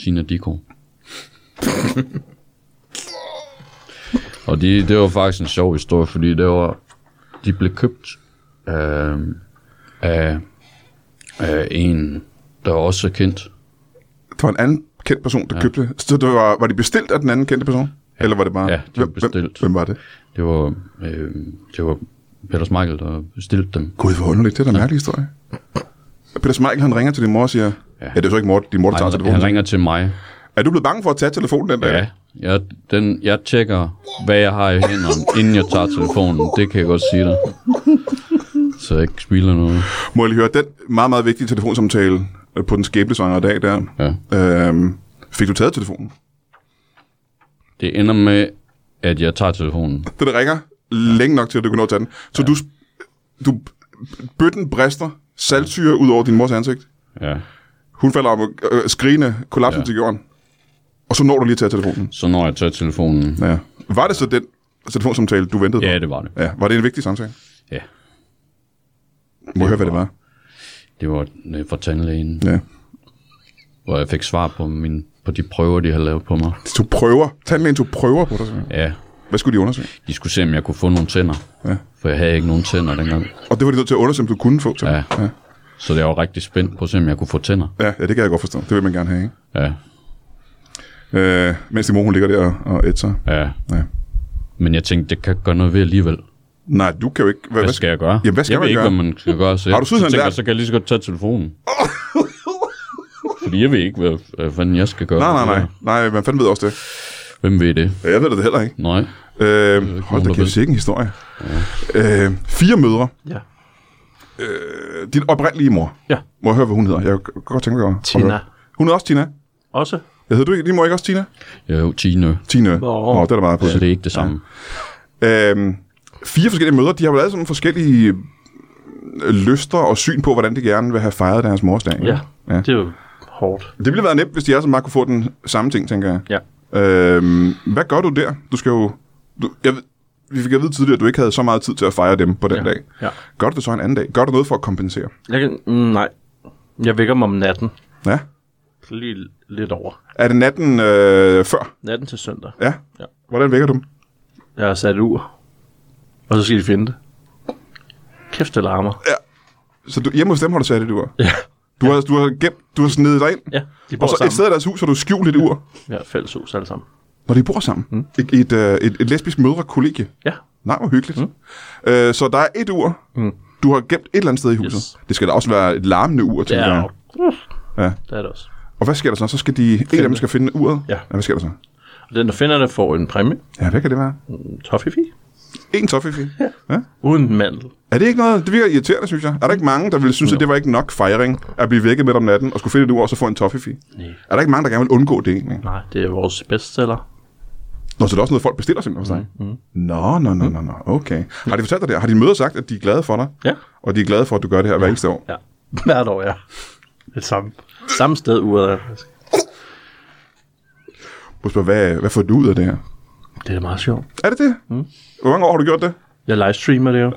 [SPEAKER 4] Tina Diko. og de, det var faktisk en sjov historie, fordi det var, de blev købt øh, af, af en, der også er kendt.
[SPEAKER 1] Det var en anden kendt person, der ja. købte. Så det var, var de bestilt af den anden kendte person? Ja. Eller var det bare...
[SPEAKER 4] Ja, de var
[SPEAKER 1] hvem, hvem,
[SPEAKER 4] bestilt.
[SPEAKER 1] hvem var det?
[SPEAKER 4] Det var, øh, det var Peter Smeichel, der bestilte dem.
[SPEAKER 1] Gud, hvor underligt. Det er da en mærkelig historie. Peter Smeichel, han ringer til din mor og siger... Ja, ja det er jo så ikke mor, din mor, der tager
[SPEAKER 4] Han, han
[SPEAKER 1] telefonen.
[SPEAKER 4] ringer til mig.
[SPEAKER 1] Er du blevet bange for at tage telefonen den dag?
[SPEAKER 4] Ja, jeg, den, jeg tjekker, hvad jeg har i hænderne, inden jeg tager telefonen. Det kan jeg godt sige dig. Så jeg ikke spilder noget.
[SPEAKER 1] Må jeg lige høre, den meget, meget vigtige telefonsamtale øh, på den skæbnesvangre dag der...
[SPEAKER 4] Ja.
[SPEAKER 1] Øhm, fik du taget telefonen?
[SPEAKER 4] Det ender med, at jeg tager telefonen.
[SPEAKER 1] Den ringer længe nok til, at du kan nå at tage den. Så ja. du, du... Bøtten brister saltsyre ud over din mors ansigt.
[SPEAKER 4] Ja.
[SPEAKER 1] Hun falder om øh, skrigende, kollapser ja. til jorden. Og så når du lige at tage telefonen.
[SPEAKER 4] Så når jeg tager telefonen.
[SPEAKER 1] Ja. Var det så den telefonsamtale, du ventede
[SPEAKER 4] Ja,
[SPEAKER 1] på?
[SPEAKER 4] det var det.
[SPEAKER 1] Ja. Var det en vigtig samtale?
[SPEAKER 4] Ja.
[SPEAKER 1] Må jeg høre, hvad det var?
[SPEAKER 4] Det var øh, fra tandlægen,
[SPEAKER 1] Ja.
[SPEAKER 4] hvor jeg fik svar på, min, på de prøver, de havde lavet på mig.
[SPEAKER 1] Du prøver. Tandlægen tog prøver på dig. simpelthen.
[SPEAKER 4] Ja,
[SPEAKER 1] Hvad skulle de undersøge?
[SPEAKER 4] de skulle se, om jeg kunne få nogle tænder.
[SPEAKER 1] Ja.
[SPEAKER 4] For jeg havde ikke nogen tænder dengang.
[SPEAKER 1] Og det var de nødt til at undersøge, om du kunne få til.
[SPEAKER 4] Ja.
[SPEAKER 1] ja.
[SPEAKER 4] Så jeg var rigtig spændt på at se, om jeg kunne få tænder.
[SPEAKER 1] Ja, ja, det kan jeg godt forstå. Det vil man gerne have, ikke?
[SPEAKER 4] Ja,
[SPEAKER 1] Øh, mens din mor, hun ligger der og, og ætser.
[SPEAKER 4] ja.
[SPEAKER 1] Ja.
[SPEAKER 4] Men jeg tænkte, det kan jeg gøre noget ved alligevel.
[SPEAKER 1] Nej, du kan jo ikke...
[SPEAKER 4] Hvad skal jeg gøre?
[SPEAKER 1] Jamen, hvad skal
[SPEAKER 4] jeg
[SPEAKER 1] man
[SPEAKER 4] ved ikke,
[SPEAKER 1] gøre?
[SPEAKER 4] hvad man skal gøre. Så
[SPEAKER 1] Har
[SPEAKER 4] jeg,
[SPEAKER 1] du synes,
[SPEAKER 4] så
[SPEAKER 1] han
[SPEAKER 4] tænker,
[SPEAKER 1] lærer-
[SPEAKER 4] jeg, så kan jeg lige så godt tage telefonen. Fordi jeg ved ikke, hvad, hvad fanden jeg skal gøre.
[SPEAKER 1] Nej, nej, nej. Nej, man fanden ved også det.
[SPEAKER 4] Hvem ved det?
[SPEAKER 1] Ja, Jeg ved det heller ikke.
[SPEAKER 4] Nej.
[SPEAKER 1] Øh, hold da
[SPEAKER 4] nogen, der
[SPEAKER 1] kæft,
[SPEAKER 4] ved.
[SPEAKER 1] sikke en historie. Ja. Øh, fire mødre.
[SPEAKER 2] Ja.
[SPEAKER 1] Øh, din oprindelige mor.
[SPEAKER 2] Ja.
[SPEAKER 1] Må jeg høre, hvad hun hedder? Jeg kan godt tænke mig at
[SPEAKER 2] Tina.
[SPEAKER 1] at høre. Hun hedder også Tina.
[SPEAKER 2] Også?
[SPEAKER 1] Jeg hedder du ikke, din mor ikke også Tina?
[SPEAKER 4] Jo, Tine.
[SPEAKER 1] Tina.
[SPEAKER 2] Nå.
[SPEAKER 1] Nå det er da meget på.
[SPEAKER 4] Så det er ikke det samme.
[SPEAKER 1] Øhm, fire forskellige mødre, de har vel alle sammen forskellige øh, lyster og syn på, hvordan de gerne vil have fejret deres mors dag. ikke?
[SPEAKER 2] Ja. ja.
[SPEAKER 1] ja.
[SPEAKER 2] Det er jo hårdt.
[SPEAKER 1] Det ville være nemt, hvis de alle sammen bare kunne få den samme ting, tænker jeg.
[SPEAKER 2] Ja.
[SPEAKER 1] Øhm, hvad gør du der? Du skal jo... Du, jeg, ved- vi fik at vide tidligere, at du ikke havde så meget tid til at fejre dem på den
[SPEAKER 2] Ja.
[SPEAKER 1] dag.
[SPEAKER 2] Ja.
[SPEAKER 1] Gør du det så en anden dag? Gør du noget for at kompensere?
[SPEAKER 2] Jeg kan, mm, nej. Jeg vækker mig om natten.
[SPEAKER 1] Ja.
[SPEAKER 2] Lige lidt over.
[SPEAKER 1] Er det natten øh, før?
[SPEAKER 2] Natten til søndag.
[SPEAKER 1] Ja.
[SPEAKER 2] Ja.
[SPEAKER 1] Hvordan vækker du dem?
[SPEAKER 2] Jeg har sat et ur. Og så skal de finde det. Kæft, det larmer.
[SPEAKER 1] Så du, hjemme hos dem har du sat et ur?
[SPEAKER 2] Ja.
[SPEAKER 1] Du har, du har gemt, du har snedet dig ind,
[SPEAKER 2] Ja, de bor
[SPEAKER 1] og så et
[SPEAKER 2] sammen.
[SPEAKER 1] sted i deres hus har du skjult et ur.
[SPEAKER 2] Ja, fælleshus alle sammen.
[SPEAKER 1] Når de bor sammen. Mm. Et, et, øh, et, et lesbisk mødrekollegie.
[SPEAKER 2] Ja.
[SPEAKER 1] Nej, hvor hyggeligt. Mm. Øh, så der er et ur, mm. du har gemt et eller andet sted i huset. Yes.
[SPEAKER 2] Yes.
[SPEAKER 1] Det skal da også være et larmende ur,
[SPEAKER 2] Det
[SPEAKER 1] tænker
[SPEAKER 2] er,
[SPEAKER 1] jeg.
[SPEAKER 2] uh,
[SPEAKER 1] Ja.
[SPEAKER 2] det er det også.
[SPEAKER 1] Og hvad sker der så? Så skal de, en af dem skal finde uret.
[SPEAKER 2] Ja.
[SPEAKER 1] ja. hvad sker der så?
[SPEAKER 2] Og den, der finder det, får en præmie.
[SPEAKER 1] Ja, hvad kan det være?
[SPEAKER 2] En toffifi.
[SPEAKER 1] En toffefi. Ja. ja.
[SPEAKER 2] Uden mandel.
[SPEAKER 1] Er det ikke noget? Det virker irriterende, synes jeg. Er der ikke mange, der ville synes, at det var ikke nok fejring at blive vækket midt om natten og skulle finde et ur og så få en toffefi?
[SPEAKER 2] Nej.
[SPEAKER 1] Er der ikke mange, der gerne vil undgå det egentlig?
[SPEAKER 2] Nej, det er vores bestseller.
[SPEAKER 1] Nå, så det er også noget, folk bestiller simpelthen hos dig? Mm. Nå, nå, nå, nå, nå, okay. Har de fortalt dig det? Har dine møder sagt, at de er glade for dig?
[SPEAKER 2] Ja.
[SPEAKER 1] Og de er glade for, at du gør det her hver eneste år?
[SPEAKER 2] Ja. Hvert år, ja. Det samme. Samme sted uret er.
[SPEAKER 1] Må spørge, hvad, hvad får du ud af det her?
[SPEAKER 2] Det er meget sjovt.
[SPEAKER 1] Er det det? Mm. Hvor mange år har du gjort det?
[SPEAKER 2] Jeg livestreamer det jo.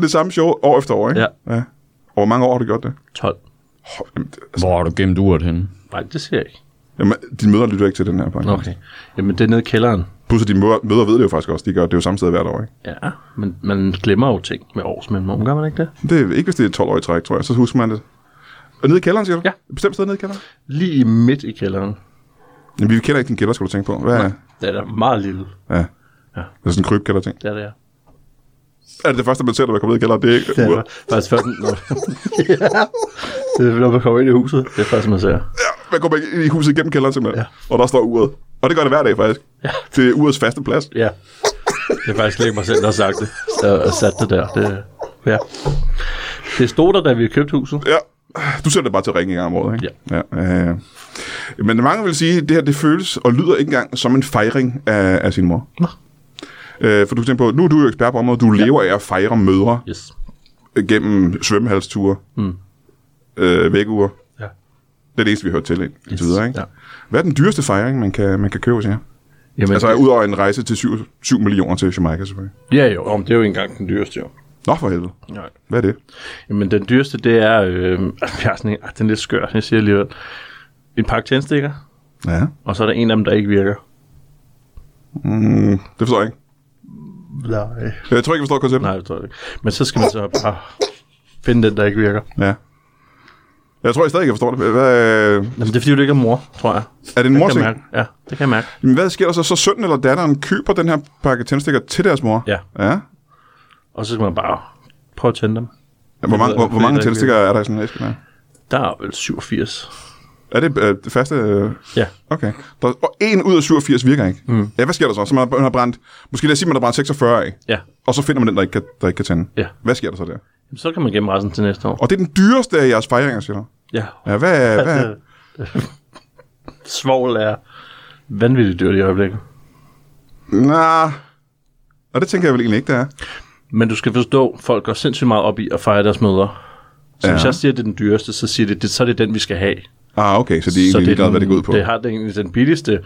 [SPEAKER 1] Det samme show år efter år, ikke?
[SPEAKER 2] Ja.
[SPEAKER 1] ja. Og hvor mange år har du gjort det?
[SPEAKER 2] 12.
[SPEAKER 1] Hov, jamen, det- altså,
[SPEAKER 4] Hvor har du gemt uret henne?
[SPEAKER 2] Nej, det ser jeg ikke.
[SPEAKER 1] jamen, dine møder lytter ikke til den her podcast.
[SPEAKER 2] Okay. Jamen, det er nede i kælderen.
[SPEAKER 1] Plus, at dine møder, møder ved det jo faktisk også. De gør det jo samme sted hvert år, ikke?
[SPEAKER 2] Ja, men man glemmer jo ting med års mellemrum, gør man ikke det?
[SPEAKER 1] Det er ikke, hvis det er 12 år i træk, tror jeg. Så husker man det. Og nede i kælderen, siger du?
[SPEAKER 2] Ja.
[SPEAKER 1] Et Bestemt sted nede i kælderen?
[SPEAKER 2] Lige midt i kælderen.
[SPEAKER 1] Jamen, vi kender ikke din kælder, skal du tænke på. Hvad er,
[SPEAKER 2] Det er da meget lille.
[SPEAKER 1] ja.
[SPEAKER 2] Ja.
[SPEAKER 1] Det er sådan en krybkælder ting.
[SPEAKER 2] Det er det, ja.
[SPEAKER 1] Er det det første, man ser, når man kommer ned i kælderen? Det er ikke
[SPEAKER 2] Det er
[SPEAKER 1] uret.
[SPEAKER 2] faktisk først, når, ja. det er, når man kommer ind i huset. Det er først, man ser.
[SPEAKER 1] Man går bare ind i huset gennem kælderen simpelthen, ja. og der står uret. Og det gør det hver dag faktisk. Ja. Det er urets faste plads.
[SPEAKER 2] Ja. Det er faktisk ikke mig selv, der har sagt det. Og sat det der. Det, ja. Det stod der, da vi købte huset.
[SPEAKER 1] Ja. Du sætter det bare til at ringe en gang om året, ikke?
[SPEAKER 2] Ja.
[SPEAKER 1] ja øh. Men mange vil sige, at det her det føles og lyder ikke engang som en fejring af, af sin mor.
[SPEAKER 2] Nå.
[SPEAKER 1] Øh, for du kan tænke på, nu er du jo ekspert på området, du lever af at fejre mødre
[SPEAKER 2] Yes.
[SPEAKER 1] øh, gennem svømmehalsture, mm. øh, vægure.
[SPEAKER 2] Ja.
[SPEAKER 1] Det er det eneste, vi har hørt til ind, yes.
[SPEAKER 2] Yes,
[SPEAKER 1] videre, ikke?
[SPEAKER 2] ja.
[SPEAKER 1] Hvad er den dyreste fejring, man kan, man kan købe sig her?
[SPEAKER 2] Jamen,
[SPEAKER 1] Altså, udover en rejse til 7, 7 millioner til Jamaica, selvfølgelig.
[SPEAKER 2] ja jo, om det er jo ikke engang den dyreste jo.
[SPEAKER 1] Nå for helvede.
[SPEAKER 2] Nej.
[SPEAKER 1] Hvad er det?
[SPEAKER 2] Jamen, den dyreste, det er... Øh, jeg er sådan, en- ah, den er lidt skør, jeg siger alligevel. En pakke tændstikker,
[SPEAKER 1] Ja.
[SPEAKER 2] og så er der en af dem, der ikke virker.
[SPEAKER 1] Mm, det forstår jeg ikke.
[SPEAKER 2] Nej.
[SPEAKER 1] Jeg tror ikke, jeg forstår konceptet.
[SPEAKER 2] Nej, det tror jeg ikke. Men så skal man så bare finde den, der ikke virker.
[SPEAKER 1] Ja. Jeg tror jeg stadig, jeg forstår det. Hvad,
[SPEAKER 2] Jamen, det er fordi, du ikke er mor, tror jeg.
[SPEAKER 1] er det en
[SPEAKER 2] Det kan
[SPEAKER 1] morting?
[SPEAKER 2] jeg mærke. Ja, det kan jeg mærke.
[SPEAKER 1] Jamen, hvad sker der så? Så sønnen eller datteren køber den her pakke tændstikker til deres mor?
[SPEAKER 2] Ja.
[SPEAKER 1] ja.
[SPEAKER 2] Og så skal man bare prøve at tænde dem.
[SPEAKER 1] Hvor, mange,
[SPEAKER 2] ved-
[SPEAKER 1] hvor, hvor
[SPEAKER 2] ved
[SPEAKER 1] mange
[SPEAKER 2] jeg ikke.
[SPEAKER 1] tændstikker er der i sådan en æske? Der?
[SPEAKER 2] Der er vel 87.
[SPEAKER 1] Er det øh, det faste? Øh,
[SPEAKER 2] Ja.
[SPEAKER 1] okay. Der, og en ud af 87 virker ikke. Mm. Ja, hvad sker der så? Så man har, man har brændt, måske lad os sige, man har brændt 46 af,
[SPEAKER 2] Ja.
[SPEAKER 1] og så finder man den, der ikke kan, der ikke kan tænde.
[SPEAKER 2] Ja.
[SPEAKER 1] Hvad sker der så der?
[SPEAKER 2] Jamen, så kan man gemme resten til næste år.
[SPEAKER 1] Og det er den dyreste af jeres fejringer, siger du?
[SPEAKER 2] Ja.
[SPEAKER 1] Ja, hvad, hvad,
[SPEAKER 2] Det- det- Svovl er vanvittigt dyrt i øjeblikket.
[SPEAKER 1] Nej. Og det tænker jeg vel egentlig ikke, det er.
[SPEAKER 2] Men du skal forstå, folk går sindssygt meget op i at fejre deres møder. Så ja. hvis
[SPEAKER 1] Ja.
[SPEAKER 2] jeg siger, at det er den dyreste, så siger de, det, så er det den, vi skal have.
[SPEAKER 1] Ah, okay, så de er egentlig ligeglade, hvad det går ud på.
[SPEAKER 2] Det har det egentlig den billigste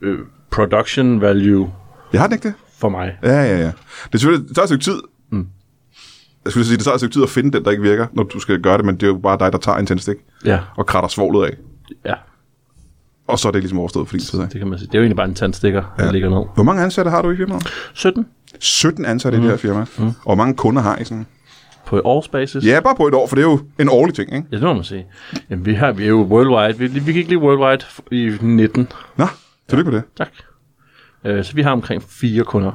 [SPEAKER 2] øh, production value
[SPEAKER 1] Jeg har den ikke det?
[SPEAKER 2] for mig.
[SPEAKER 1] Ja, ja, ja. Det, er selvfølgelig, det tager et stykke tid. Mm. Jeg skulle sige, det tager et stykke tid at finde den, der ikke virker, når du skal gøre det, men det er jo bare dig, der tager en tændstik
[SPEAKER 2] Ja,
[SPEAKER 1] og kratter svoglet af.
[SPEAKER 2] ja,
[SPEAKER 1] Og så er det ligesom overstået for din tid. ikke?
[SPEAKER 2] det kan man sige. Det er jo egentlig bare en tandstikker, der
[SPEAKER 1] Ja.
[SPEAKER 2] ligger ned.
[SPEAKER 1] Hvor mange ansatte har du i firmaet?
[SPEAKER 2] 17
[SPEAKER 1] 17 ansatte mm. i det her firma. Mm. Og hvor mange kunder har I sådan?
[SPEAKER 2] på årsbasis.
[SPEAKER 1] Ja, bare på et år, for det er jo en årlig ting, ikke?
[SPEAKER 2] Ja, det må man sige. Jamen, vi, har, vi er jo worldwide. Vi, vi gik lige worldwide i 19.
[SPEAKER 1] Nå, tillykke med det.
[SPEAKER 2] Tak. Øh, så vi har omkring fire kunder.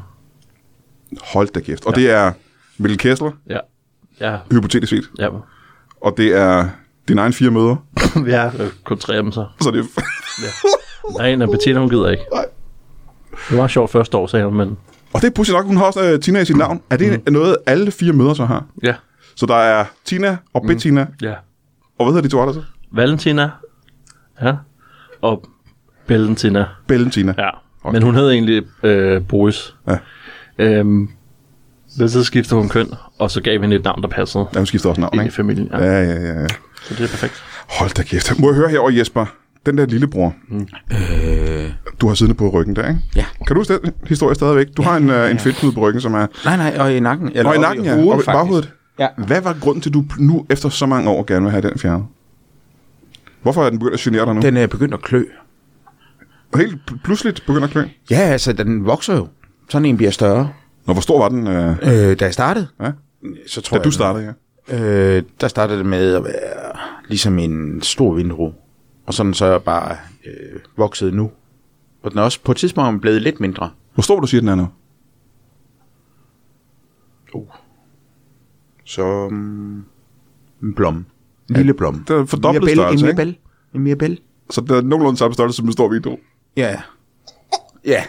[SPEAKER 1] Hold da kæft. Og ja. det er Mikkel Kessler,
[SPEAKER 2] Ja. Ja,
[SPEAKER 1] hypotetisk set.
[SPEAKER 2] ja.
[SPEAKER 1] Og det er dine egne fire møder.
[SPEAKER 2] vi har øh, kun tre af dem så.
[SPEAKER 1] Så det er...
[SPEAKER 2] Der er en, der Bettina, hun gider ikke.
[SPEAKER 1] Nej.
[SPEAKER 2] Det var sjovt første år, sagde hun, men
[SPEAKER 1] Og det er pudsigt nok, hun har også øh, Tina i sit navn. Er det mm. noget, alle fire møder så har?
[SPEAKER 2] ja,
[SPEAKER 1] Så der er Tina og Bettina, mm.
[SPEAKER 2] ja.
[SPEAKER 1] og hvad hedder de to andre så?
[SPEAKER 2] Valentina, ja, og Valentina,
[SPEAKER 1] Bellentina.
[SPEAKER 2] ja.
[SPEAKER 1] Okay.
[SPEAKER 2] Men hun hed egentlig øh, Boris.
[SPEAKER 1] Ja.
[SPEAKER 2] Øhm, men så skiftede hun køn, og så gav vi hende et navn, der passede
[SPEAKER 1] Ja, hun skifter også navn,
[SPEAKER 2] ind i
[SPEAKER 1] ikke?
[SPEAKER 2] familien. Ja,
[SPEAKER 1] Ja, ja, ja, ja.
[SPEAKER 2] Så det er perfekt.
[SPEAKER 1] Hold da kæft. Må jeg høre herovre, Jesper? Den der lillebror, mm.
[SPEAKER 3] Øh,
[SPEAKER 1] du har siddende på ryggen der, ikke?
[SPEAKER 3] Ja.
[SPEAKER 1] Kan du huske den historie stadigvæk? Du ja, har en, øh, en fedtknude på ryggen, som er...
[SPEAKER 3] nej, nej, og i nakken. Eller
[SPEAKER 1] Og i
[SPEAKER 3] op
[SPEAKER 1] nakken, ja.
[SPEAKER 3] hovedet,
[SPEAKER 1] Og i
[SPEAKER 3] faktisk.
[SPEAKER 1] baghovedet.
[SPEAKER 3] Ja.
[SPEAKER 1] Hvad var grunden til, at du nu efter så mange år gerne vil have den fjernet? Hvorfor er den begyndt at genere dig nu? Den...
[SPEAKER 3] Den er begyndt at klø.
[SPEAKER 1] Helt pl- pludseligt begynder at klø.
[SPEAKER 3] Ja, altså, den vokser jo. Sådan en bliver større.
[SPEAKER 1] Nå, hvor stor var den, øh,
[SPEAKER 3] Øh, da jeg startede,
[SPEAKER 1] Ja.
[SPEAKER 3] så tror
[SPEAKER 1] da
[SPEAKER 3] jeg,
[SPEAKER 1] du startede, ja?
[SPEAKER 3] Øh, der startede det med at være ligesom en stor vindue. Og sådan så er jeg bare øh, vokset nu. og den er også på et tidspunkt blevet lidt mindre.
[SPEAKER 1] Hvor stor du siger, den er nu?
[SPEAKER 3] Uh. Så mm, en blomme. En lille blomme.
[SPEAKER 1] det er fordoblet
[SPEAKER 3] Mirabelle,
[SPEAKER 1] størrelse,
[SPEAKER 3] En
[SPEAKER 1] ikke?
[SPEAKER 3] mirabelle. En mirabelle.
[SPEAKER 1] Så det er nogenlunde samme størrelse som en stor vindue.
[SPEAKER 3] Ja. Ja.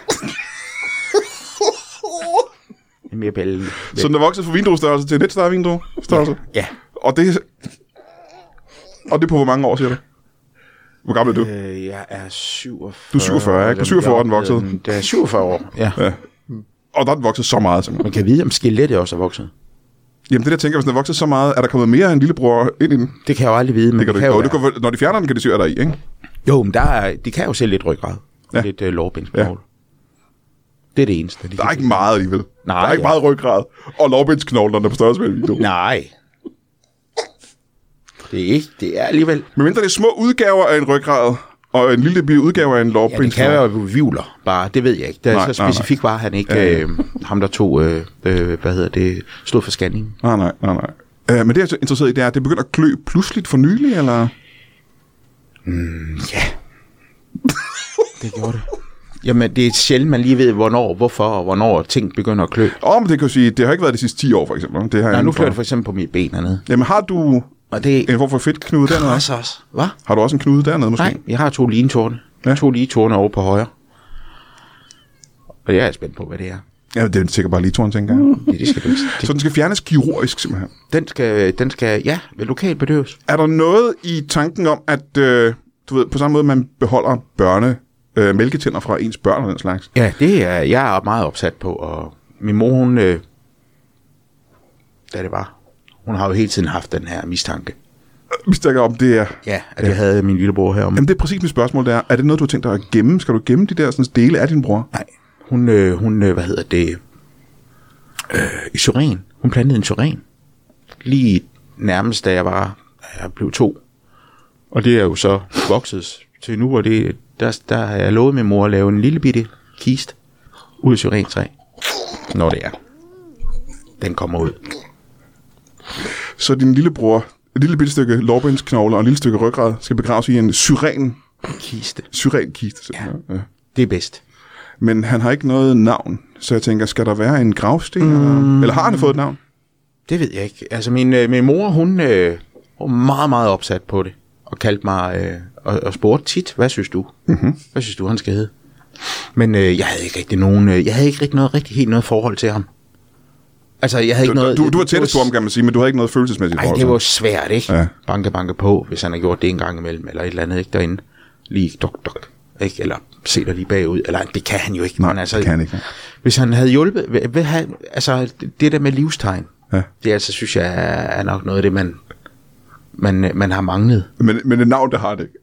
[SPEAKER 3] en mirabelle.
[SPEAKER 1] Så den er vokset fra vinduestørrelse til en lidt større vinduestørrelse.
[SPEAKER 3] Ja.
[SPEAKER 1] Og det, og det er på hvor mange år, siger du? Hvor gammel er du?
[SPEAKER 3] Øh, jeg er 47.
[SPEAKER 1] Du er 47, ikke? På 47 år er den vokset.
[SPEAKER 3] Det er 47 år, ja.
[SPEAKER 1] Ja. Og der er den vokset så meget. Som...
[SPEAKER 3] Man kan vide, om skelettet også er vokset.
[SPEAKER 1] Jamen det der tænker, jeg, hvis den er vokset så meget, er der kommet mere end lillebror ind i den?
[SPEAKER 3] Det kan jeg jo aldrig vide, men
[SPEAKER 1] Det
[SPEAKER 3] det,
[SPEAKER 1] kan du
[SPEAKER 3] kan
[SPEAKER 1] ikke.
[SPEAKER 3] jo
[SPEAKER 1] Og det
[SPEAKER 3] være-
[SPEAKER 1] kan, når de fjerner den, kan de se, at der er i, ikke?
[SPEAKER 3] Jo, men der er, de kan jo se lidt ryggrad.
[SPEAKER 1] Ja.
[SPEAKER 3] Ja. Lidt øh, lårbindsmål. Det er det eneste. De
[SPEAKER 1] Der er
[SPEAKER 3] kan
[SPEAKER 1] ikke meget alligevel.
[SPEAKER 3] Nej,
[SPEAKER 1] der er ikke
[SPEAKER 3] ja.
[SPEAKER 1] meget ryggrad. Og lårbindsknoglen, når den er på størrelse med en video.
[SPEAKER 3] se. Nej. Det er ikke, det er alligevel.
[SPEAKER 1] Men mindre det er små udgaver af en ryggrad, og en lille bitte udgave af en
[SPEAKER 3] Ja, det
[SPEAKER 1] lårbindsknogle.
[SPEAKER 3] kan være vivler, bare. Det ved jeg ikke. Det er
[SPEAKER 1] Nej,
[SPEAKER 3] nej, så
[SPEAKER 1] nej, nej.
[SPEAKER 3] specifikt var han ikke.
[SPEAKER 1] Ja, ja.
[SPEAKER 3] Øh, ham, der tog, øh, øh, hvad hedder det, stod for scanning.
[SPEAKER 1] Nej, nej, nej, nej. Øh, men det, jeg er så interesseret i, det er, at det begynder at klø pludseligt for nylig, eller?
[SPEAKER 3] Det gjorde det. Jamen, det er sjældent, man lige ved, hvornår, hvorfor og hvornår ting begynder at klø.
[SPEAKER 1] Åh, oh, men det kan jo sige, det har ikke været de sidste 10 år, for eksempel. Det har
[SPEAKER 3] Nej,
[SPEAKER 1] jeg
[SPEAKER 3] nu
[SPEAKER 1] indenfor.
[SPEAKER 3] klør det for eksempel på mit ben hernede.
[SPEAKER 1] Jamen, har du
[SPEAKER 3] Og det er
[SPEAKER 1] en form for fedtknude dernede? også?
[SPEAKER 3] også også. Hvad?
[SPEAKER 1] Har du også en knude dernede, Øhm, måske?
[SPEAKER 3] Nej, jeg har to ligetårne.
[SPEAKER 1] Ja.
[SPEAKER 3] Ja. To ligetårne over på højre. Og jeg er spændt på, hvad det er.
[SPEAKER 1] Ja, det er sikkert bare lige toren, tænker jeg.
[SPEAKER 3] Det, det skal du ikke.
[SPEAKER 1] Så
[SPEAKER 3] Det,
[SPEAKER 1] den skal fjernes kirurgisk, simpelthen.
[SPEAKER 3] den, skal, den skal, ja, lokalt bedøves.
[SPEAKER 1] Er der noget i tanken om, at øh, du ved, på samme måde, man beholder børne, øh, mælketænder fra ens børn og den slags?
[SPEAKER 3] Ja, det er jeg er meget opsat på. Og min mor, hun, øh, da det var, hun har jo hele tiden haft den her mistanke.
[SPEAKER 1] Vi snakker om det er...
[SPEAKER 3] Ja, at det havde min lillebror her om.
[SPEAKER 1] Jamen, det er præcis mit spørgsmål, der er, er det noget, du har tænkt dig at gemme? Skal du gemme de der sådan, dele af din bror?
[SPEAKER 3] Nej, hun, øh, hun øh, hvad hedder det, øh, i Soren. Hun plantede en Soren. Lige nærmest, da jeg var, da jeg blev to. Og det er jo så vokset til nu, og det, der, der har jeg lovet min mor at lave en lille bitte kist ud af Soren 3. Når det er. Den kommer ud.
[SPEAKER 1] Så din lillebror, et lille bitte stykke lårbindsknogle og et lille stykke ryggrad, skal begraves i en syren,
[SPEAKER 3] Kiste.
[SPEAKER 1] syrenkiste. simpelthen. Ja.
[SPEAKER 3] Det er bedst.
[SPEAKER 1] Men han har ikke noget navn, så jeg tænker, skal der være en gravsten? Mm. Eller, eller har han fået et navn?
[SPEAKER 3] Det ved jeg ikke. Altså min, øh, min mor, hun, øh, hun var meget, meget opsat på det. Og kaldte mig øh, og, og spurgte tit, hvad synes du? Mm-hmm.
[SPEAKER 1] Mhm.
[SPEAKER 3] Hvad synes du, han skal hedde? Men øh, jeg havde ikke rigtig nogen, øh, jeg havde ikke rigtig noget rigtig helt noget forhold til ham. Altså jeg havde ikke
[SPEAKER 1] Du,
[SPEAKER 3] noget...
[SPEAKER 1] du, du var
[SPEAKER 3] det
[SPEAKER 1] tættest på ham, kan man sige, men du havde ikke noget følelsesmæssigt
[SPEAKER 3] Nej,
[SPEAKER 1] forhold.
[SPEAKER 3] det
[SPEAKER 1] til
[SPEAKER 3] var
[SPEAKER 1] ham.
[SPEAKER 3] jo svært, ikke?
[SPEAKER 1] Ja.
[SPEAKER 3] Ja. Banke, banke på, hvis han har gjort det en gang imellem, eller et eller andet, ikke? Derinde. Lige dok, dok, ikke? Eller se dig lige bagud. Eller det kan han jo ikke.
[SPEAKER 1] Nej,
[SPEAKER 3] men altså,
[SPEAKER 1] det kan han ikke.
[SPEAKER 3] Hvis han havde hjulpet... Hvad, hvad, han- altså, det- det der med livstegn,
[SPEAKER 1] Ja.
[SPEAKER 3] det er altså, synes jeg, er nok noget af det, man, man, man har manglet.
[SPEAKER 1] Men, men et navn, der har det ikke.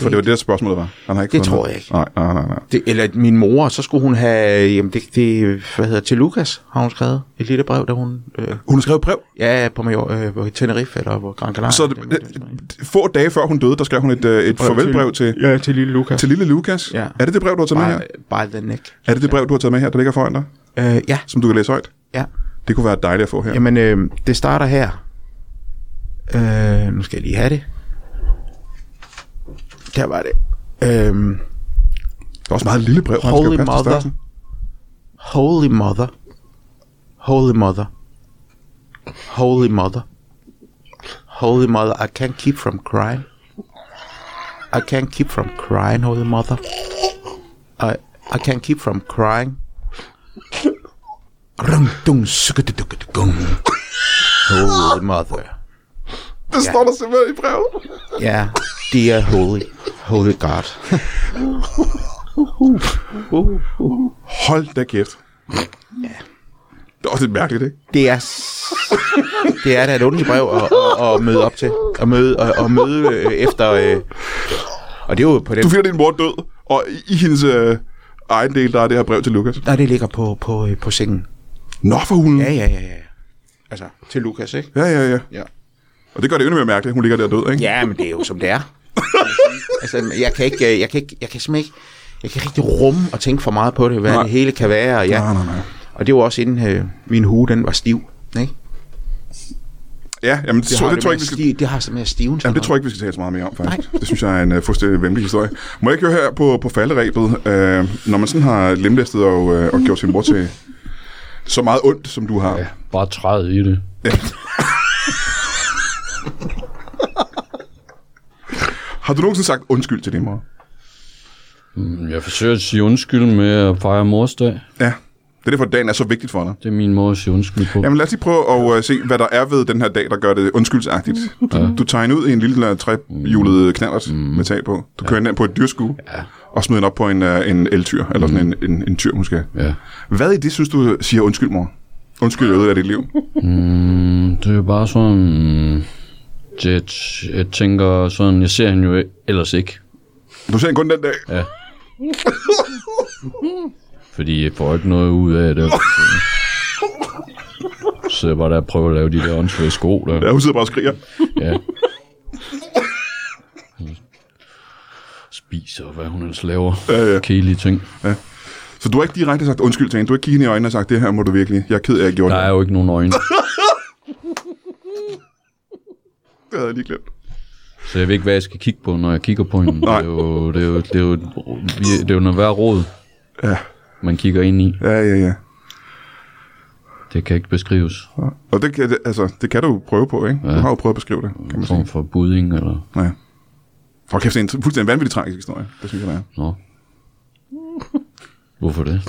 [SPEAKER 1] For det var det, der spørgsmålet var. Han har ikke
[SPEAKER 3] Det
[SPEAKER 1] fået
[SPEAKER 3] tror
[SPEAKER 1] noget.
[SPEAKER 3] jeg ikke.
[SPEAKER 1] Nej, nej, nej. nej.
[SPEAKER 3] Det, eller min mor, så skulle hun have... Jamen, det, det hvad hedder Til Lukas har hun skrevet et lille brev, der hun... Øh,
[SPEAKER 1] Hun har skrevet brev.
[SPEAKER 3] ja, på Major, øh, hvor- i Tenerife, eller hvor Gran Canaria.
[SPEAKER 1] Så det, det, få dage før hun døde, der skrev hun et, øh, et farvelbrev til,
[SPEAKER 3] Ja, til lille Lukas.
[SPEAKER 1] til lille Lukas.
[SPEAKER 3] Ja.
[SPEAKER 1] Er det det brev, du har taget med her?
[SPEAKER 3] By, by øh, the neck.
[SPEAKER 1] Er det det brev, du har taget med her, der ligger foran dig,
[SPEAKER 3] Øh, ja,
[SPEAKER 1] som du kan læse højt?
[SPEAKER 3] ja.
[SPEAKER 1] Det kunne være dejligt at få her.
[SPEAKER 3] Jamen, øh, det starter her. Øh, nu skal jeg lige have det. Der var det. Øh,
[SPEAKER 1] Det er også meget lille brev. Han skal jo
[SPEAKER 3] Holy
[SPEAKER 1] passe til
[SPEAKER 3] mother.
[SPEAKER 1] størrelsen.
[SPEAKER 3] Holy mother. Holy mother. Holy mother. Holy mother, I can't keep from crying. I can't keep from crying, holy mother. I I can't keep from crying. Rum-dung, sukkadidukkadugung. Holy mother.
[SPEAKER 1] Det står der simpelthen i brevet.
[SPEAKER 3] Yeah, dear holy, holy God.
[SPEAKER 1] Hold da kæft. Det er også lidt mærkeligt, ikke?
[SPEAKER 3] Det er, s- det er da et ondt brev at, at, at, møde op til. At møde, at, at møde øh, efter... Øh, og det er jo på den...
[SPEAKER 1] Du finder din mor død, og i, i hendes øh, egen del, der er det her brev til Lukas.
[SPEAKER 3] Nej, det ligger på, på, øh, på sengen.
[SPEAKER 1] Nå for hulen.
[SPEAKER 3] Ja, ja, ja, ja. Altså, til Lukas, ikke?
[SPEAKER 1] Ja, ja, ja.
[SPEAKER 3] Ja.
[SPEAKER 1] Og det gør det endnu mere mærkeligt, hun ligger der død, ikke?
[SPEAKER 3] Ja, men det er jo som det er. altså, jeg kan ikke... øh, Jeg kan, ikke, jeg kan simpelthen ikke... Jeg kan rigtig rumme og tænke for meget på det, hvad
[SPEAKER 1] Nej.
[SPEAKER 3] det hele kan være. Og, ja.
[SPEAKER 1] Ah, Nej, nej, nej.
[SPEAKER 3] og det var også inden øh, min hue, den var stiv. Ikke?
[SPEAKER 1] Ja, jamen, det, det, tror, det, tror jeg ikke, vi skal...
[SPEAKER 3] skal... det har sådan med stiven.
[SPEAKER 1] Jamen, det tror jeg ikke, vi skal tale så meget mere om, faktisk. Nej. Det synes jeg er en uh, fuldstændig vemmelig historie. Må jeg ikke høre her på, på falderæbet, uh, når man sådan har lemlæstet og, uh, og gjort sin mor til så meget ondt, som du har. Ja.
[SPEAKER 4] Bare træde i det.
[SPEAKER 1] Har du nogensinde sagt undskyld til din mor?
[SPEAKER 4] Mm, Jeg forsøger at sige undskyld med at fejre mors dag.
[SPEAKER 1] Ja. Det er derfor, at dagen er så vigtigt for dig.
[SPEAKER 4] Det er min måde at sige undskyld på.
[SPEAKER 1] Jamen lad os lige prøve at uh, se, hvad der er ved den her dag, der gør det undskyldsagtigt. Du, du tager hende ud i en lille øh, trehjulet knallert med tag på. Du kører hende ind på et dyrskue Mm. ja. og smider hende op på en, uh, en eltyr, eller sådan en, en, en tyr måske.
[SPEAKER 4] Ja.
[SPEAKER 1] Hvad i det synes du siger undskyld, mor? Undskyld, jeg ødelagde dit liv.
[SPEAKER 4] Mm, Det er jo bare sådan... mm, Det, jeg tænker sådan, jeg ser hende jo ellers ikke.
[SPEAKER 1] Du ser hende kun den dag.
[SPEAKER 4] Fordi jeg får ikke noget ud af det. Så jeg bare der og prøver at lave de der åndssvage sko
[SPEAKER 1] Ja,
[SPEAKER 4] der.
[SPEAKER 1] hun sidder bare og skriger.
[SPEAKER 4] Ja. Spiser og hvad hun ellers laver.
[SPEAKER 1] Ja, ja.
[SPEAKER 4] Kedelige ting.
[SPEAKER 1] Så du har ikke direkte sagt undskyld til hende. Du har ikke kigget hende i øjnene og sagt, det her må du virkelig. Jeg er ked af, at jeg gjorde
[SPEAKER 4] Der er
[SPEAKER 1] det.
[SPEAKER 4] jo ikke nogen øjne,
[SPEAKER 1] Det havde jeg lige glemt.
[SPEAKER 4] så jeg ved ikke, hvad jeg skal kigge på, når jeg kigger på hende. Det
[SPEAKER 1] Nej.
[SPEAKER 4] er jo, det er jo, det er jo, det er jo noget værd råd,
[SPEAKER 1] Ja.
[SPEAKER 4] man kigger ind i.
[SPEAKER 1] Ja, ja, ja.
[SPEAKER 4] Det kan ikke beskrives.
[SPEAKER 1] Og det kan, det- altså, det kan du jo prøve på, ikke? Ja. Du har jo prøvet at beskrive det, kan
[SPEAKER 4] En
[SPEAKER 1] man sige.
[SPEAKER 4] form for budding eller...
[SPEAKER 1] Ja. Og kæft, det er en fuldstændig vanvittig tragisk historie. Det synes jeg, det er.
[SPEAKER 4] Nå. Hvorfor det?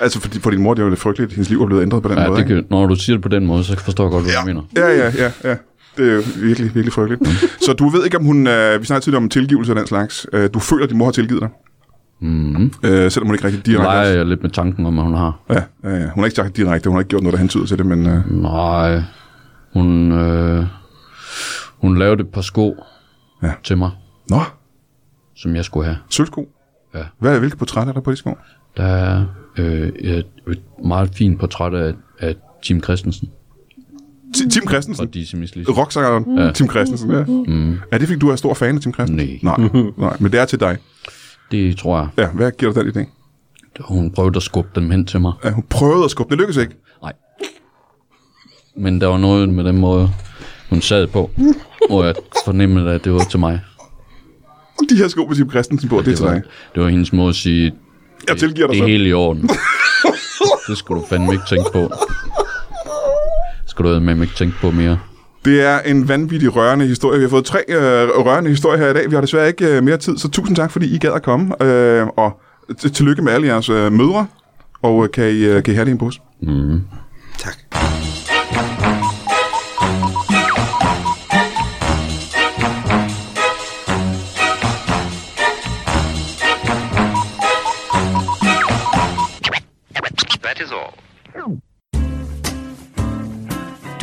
[SPEAKER 1] Altså, for, for din mor, det er jo lidt frygteligt. Hendes liv er blevet ændret på den
[SPEAKER 4] Ja,
[SPEAKER 1] måde,
[SPEAKER 4] det kan, når du siger det på den måde, så forstår jeg godt, hvad ja. du mener.
[SPEAKER 1] ikke? Ja, ja, ja, ja. Det er jo virkelig, virkelig frygteligt.
[SPEAKER 4] Mm.
[SPEAKER 1] Så du ved ikke, om hun... Øh, vi snakker tidligere om tilgivelse og den slags. Øh, du føler, at din mor har tilgivet dig.
[SPEAKER 4] Mm-hmm.
[SPEAKER 1] Øh, selvom hun ikke rigtig
[SPEAKER 4] Nu
[SPEAKER 1] direkte...
[SPEAKER 4] leger jeg lidt med tanken om, at hun har.
[SPEAKER 1] Ja, ja, ja. Hun har ikke sagt direkte. Hun har ikke gjort noget, der hentyder til det, men... Øh,
[SPEAKER 4] Nej, hun, øh, hun lavede et par sko
[SPEAKER 1] Ja.
[SPEAKER 4] ja. til mig,
[SPEAKER 1] nå,
[SPEAKER 4] som jeg skulle have.
[SPEAKER 1] sølvsko.
[SPEAKER 4] Ja.
[SPEAKER 1] Hvad, hvilket portræt er der på de sko?
[SPEAKER 4] Der er øh, et, et meget fint portræt af, af Tim Christensen
[SPEAKER 1] Ti- Tim Christensen.
[SPEAKER 4] og Dizzy Miss Lizzy.
[SPEAKER 1] Rocksangeren ja. Tim Christensen, ja. Mm. Er det, fordi du er stor fan af Tim Christensen?
[SPEAKER 4] Nej.
[SPEAKER 1] Nej, nej, men det er til dig.
[SPEAKER 4] Det tror jeg.
[SPEAKER 1] Ja, hvad giver dig den idé?
[SPEAKER 4] Hun prøvede at skubbe dem hen til mig.
[SPEAKER 1] Ja, hun prøvede at skubbe, det lykkedes ikke.
[SPEAKER 4] Nej. Men der var noget med den måde, hun sad på, hvor jeg fornemmede, at det var til mig.
[SPEAKER 1] Og de her sko med Tim Christensen på, det, det er til
[SPEAKER 4] var,
[SPEAKER 1] dig.
[SPEAKER 4] det var hendes måde at sige,
[SPEAKER 1] Jeg tilgiver dig
[SPEAKER 4] det er
[SPEAKER 1] selv.
[SPEAKER 4] helt i orden. det skulle du fandme ikke tænke på. Det skulle du med ikke tænke på mere.
[SPEAKER 1] Det er en vanvittig rørende historie. Vi har fået tre øh, rørende historier her i dag. Vi har desværre ikke øh, mere tid, så tusind tak, fordi I gad at komme. Øh, og t- tillykke med alle jeres øh, mødre. Og øh, kan, I, øh, kan I have det i en pose?
[SPEAKER 3] Tak.